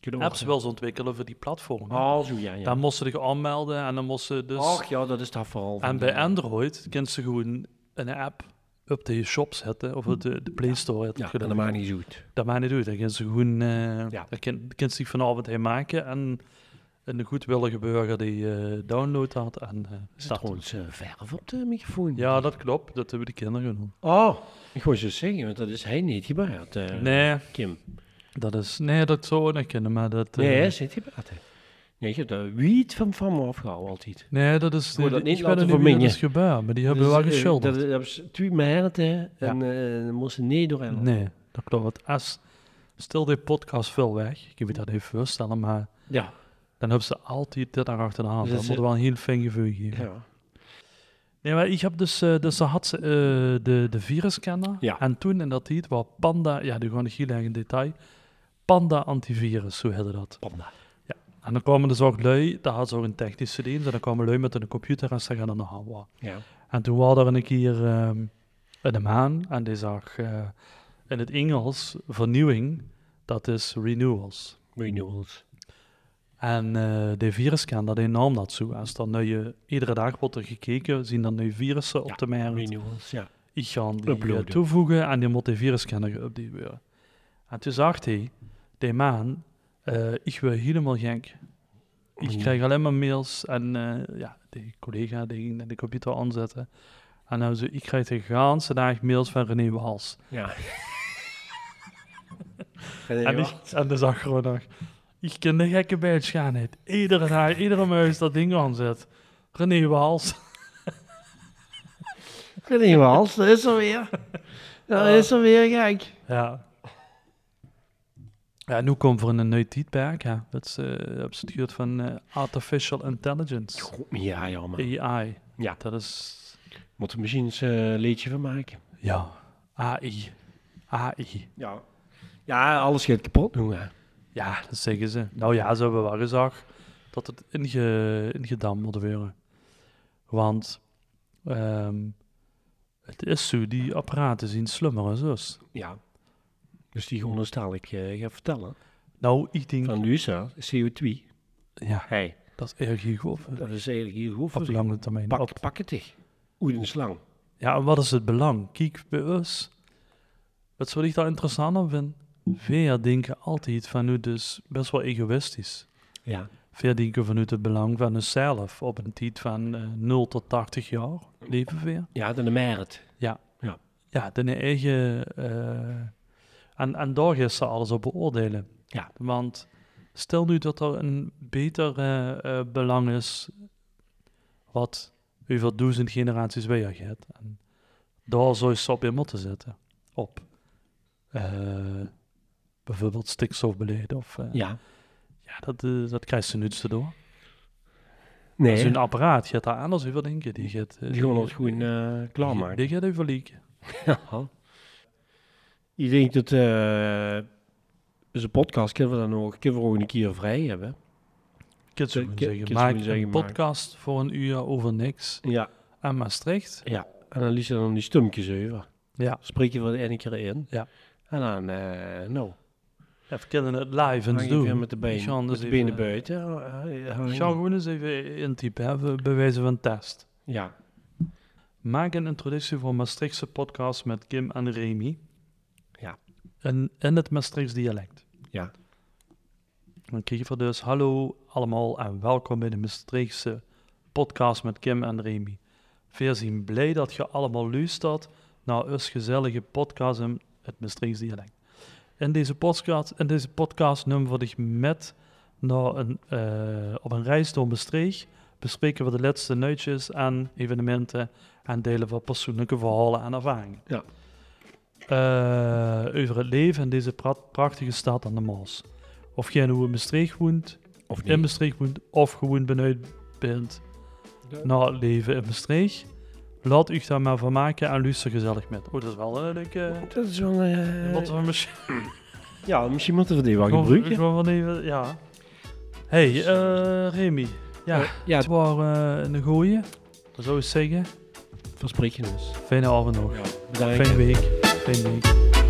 Speaker 2: Kunnen we
Speaker 1: apps
Speaker 2: ook,
Speaker 1: wel ontwikkelen voor die platformen.
Speaker 2: hè. Oh, zo ja. ja. Oh,
Speaker 1: Dan moesten ze zich aanmelden en dan moesten ze dus...
Speaker 2: Och ja, dat is dat vooral.
Speaker 1: En
Speaker 2: van eh,
Speaker 1: bij
Speaker 2: de-
Speaker 1: Android kunt ze gewoon een app op de shop zetten, of op de, de Play Store. het
Speaker 2: Ja,
Speaker 1: gedaan.
Speaker 2: dat maakt niet zoet.
Speaker 1: Dat maakt niet uit. Dan kunnen ze gewoon... eh
Speaker 2: Ja.
Speaker 1: Dat kan, kan ze die vanavond heen maken en een goedwillige burger die eh, download had en eh,
Speaker 2: Staat
Speaker 1: staat.
Speaker 2: gewoon eh, verf op de microfoon.
Speaker 1: Ja, dat klopt. Dat hebben de kinderen genoemd.
Speaker 2: Oh, ik wou zo zeggen, want dat is hij niet gebaard. eh,
Speaker 1: Nee,
Speaker 2: Kim.
Speaker 1: dat is... Nee, dat zou we niet kunnen, maar dat... eh,
Speaker 2: Nee, hij zit gebaard. hè. Nee, je hebt de wiet van van me afgehouden altijd.
Speaker 1: Nee, dat is...
Speaker 2: Ik wil dat
Speaker 1: ik
Speaker 2: niet
Speaker 1: weet
Speaker 2: laten
Speaker 1: niet wie dat
Speaker 2: vermengen.
Speaker 1: is gebeurd, maar die hebben
Speaker 2: Dus,
Speaker 1: wel
Speaker 2: eh,
Speaker 1: geschilderd.
Speaker 2: Dat is- dat is twee maanden en eh, dan moesten nee door en
Speaker 1: Nee, dat klopt. Want Als stil die podcast veel weg, ik weet dat even voorstellen, maar
Speaker 2: Ja.
Speaker 1: dan hebben ze altijd dit aan achteraan.
Speaker 2: Dus
Speaker 1: dat
Speaker 2: ze-
Speaker 1: moet wel een heel fijn gevoel geven.
Speaker 2: ja.
Speaker 1: Nee, maar ik heb dus, eh, dus ze had ze, eh, de, de viruscanner.
Speaker 2: Ja.
Speaker 1: En toen in dat tijd was Panda, ja, die gewoon een heel erg in detail. Panda antivirus, zo heette dat.
Speaker 2: Panda.
Speaker 1: En dan kwamen dus ook lui, daar had ze ook een technische dienst, en dan kwamen lui met een computer en ze gaan dan nog aan. wat.
Speaker 2: Ja.
Speaker 1: En toen waren er een keer ehm een maan en die zag eh, in het Engels vernieuwing, dat is renewals.
Speaker 2: Renewals.
Speaker 1: En eh de virusscanner, die nam dat zo. Als dan nu je, iedere dag wordt er gekeken, zien dan nu virussen op
Speaker 2: Ja,
Speaker 1: de markt.
Speaker 2: Renewals, ja.
Speaker 1: Ik ga die eh,
Speaker 2: Uploaden.
Speaker 1: toevoegen en die moet de virusscanner geüpdate worden. En toen zag hij, die maan, eh, ik word helemaal gek. Ik
Speaker 2: Ja.
Speaker 1: krijg alleen maar mails en eh, ja, die collega die ging de computer aanzetten. En nou, zo, ik krijg de ganse dag mails van René Wals. *laughs*
Speaker 2: Ja.
Speaker 1: En, ik, en dan zag ik gewoon nog, ik ken de gekke bij het schaanheid. Iedere dag, iedere muis dat ding aanzet. René Wals.
Speaker 2: Renewals, dat is
Speaker 1: *laughs*
Speaker 2: er weer. Dat is er weer, kijk.
Speaker 1: *laughs* Ja. Ja, nu komt voor een nieuw tijdperk. Ja. Dat is eh, hebben ze het gehoord van eh, Artificial Intelligence.
Speaker 2: Ja, ja, man.
Speaker 1: AI.
Speaker 2: Ja.
Speaker 1: Dat is...
Speaker 2: Moet er misschien eens eh, een liedje van maken.
Speaker 1: Ja. AI. AI.
Speaker 2: Ja. Ja, alles gaat kapot nu, hè.
Speaker 1: Ja, dat zeggen ze. Nou ja, ze hebben wel gezegd dat het inge, ingedamd moet worden. Want ehm, het is zo, die apparaten zien slimmer en zus.
Speaker 2: Ja. Dus die gewoon eens dadelijk eh, gaan vertellen.
Speaker 1: Nou, ik denk...
Speaker 2: Van Luisa, CO2.
Speaker 1: Ja,
Speaker 2: Hey,
Speaker 1: dat is erg goed.
Speaker 2: dat is eigenlijk hier goed
Speaker 1: Op
Speaker 2: voor
Speaker 1: lange termijn. Op-
Speaker 2: Pak, pak het dich. Oeh, een slang.
Speaker 1: Ja, en wat is het belang? Kijk, bij ons, wat wat ik daar interessant aan vind, veel denken altijd vanuit dus best wel egoïstisch.
Speaker 2: Ja.
Speaker 1: Veel denken vanuit het belang van onszelf op een tijd van eh, 0 tot 80 jaar leven weer.
Speaker 2: Ja, dan de merit.
Speaker 1: Ja, de eigen... eh, en, en daar gaan ze alles op beoordelen.
Speaker 2: Ja.
Speaker 1: Want stel nu dat er een beter eh, eh, belang is wat over duizend generaties weer gaat. En daar zou je ze op in moeten zetten. Op eh, bijvoorbeeld stikstofbeleid. Of, eh,
Speaker 2: Ja.
Speaker 1: ja, dat, eh, dat krijgt ze nu te door.
Speaker 2: Nee,
Speaker 1: Zo'n apparaat gaat daar anders over denken. Die gaat, eh,
Speaker 2: die gewoon
Speaker 1: die-
Speaker 2: het gewoon eh klaarmaken.
Speaker 1: Die gaat over lieken.
Speaker 2: *laughs* Ja. Ik denk dat eh zijn podcast kunnen we dan nog, kunnen we ook een keer vrij hebben.
Speaker 1: Ik kan zo
Speaker 2: Ik-
Speaker 1: gewoon
Speaker 2: ik- ik
Speaker 1: zeggen,
Speaker 2: kan zo
Speaker 1: maak
Speaker 2: gewoon zeggen,
Speaker 1: een
Speaker 2: maak.
Speaker 1: podcast voor een uur over niks
Speaker 2: Ja.
Speaker 1: aan Maastricht.
Speaker 2: Ja. En dan liet ze dan die stumpjes over.
Speaker 1: Ja.
Speaker 2: Spreek je wel de ene keer in.
Speaker 1: Ja.
Speaker 2: En dan, eh nou,
Speaker 1: Ja, we kunnen het live
Speaker 2: hang
Speaker 1: eens
Speaker 2: je
Speaker 1: doen.
Speaker 2: weer met de
Speaker 1: Ik ga
Speaker 2: benen,
Speaker 1: dus
Speaker 2: met de benen
Speaker 1: even-
Speaker 2: buiten. eh, hang-
Speaker 1: Ik ga gewoon eens even intypen, hè, voor- bij wijze van test.
Speaker 2: Ja.
Speaker 1: Maak een introductie voor Maastrichtse podcast met Kim en Remy.
Speaker 2: Ja.
Speaker 1: En in het Maastrichts dialect.
Speaker 2: Ja.
Speaker 1: Dan krijg je dus hallo allemaal en welkom bij de Maastrichtse podcast met Kim en Remy. Veel zien blij dat je allemaal luistert naar ons gezellige podcast in het Maastrichts dialect. In deze podcast, in deze podcast nemen we dich met naar een, eh, op een reis door Maastricht. Bespreken we de laatste nieuwtjes en evenementen en delen we persoonlijke verhalen en ervaringen.
Speaker 2: Ja.
Speaker 1: eh, over het leven in deze pra- prachtige stad aan de Maas. Of jij nu in Maastricht woont,
Speaker 2: Of
Speaker 1: in
Speaker 2: niet?
Speaker 1: Maastricht woont, of gewoon benieuwd bent naar het leven in Maastricht, laat u daar maar van maken en luister gezellig met. Oh, dat is wel een leuke...
Speaker 2: Dat is wel... eh,
Speaker 1: Wat we misschien
Speaker 2: ja, misschien moeten we die wel
Speaker 1: gewoon-
Speaker 2: gebruiken.
Speaker 1: gewoon van even- Ja. Hey, eh, Remy. Ja,
Speaker 2: Eh, ja,
Speaker 1: het waren eh, een gooie. Dan zou ik zeggen,
Speaker 2: verspreek je ons.
Speaker 1: fijne avond nog.
Speaker 2: Bedankt.
Speaker 1: Fijne week. Fijne week.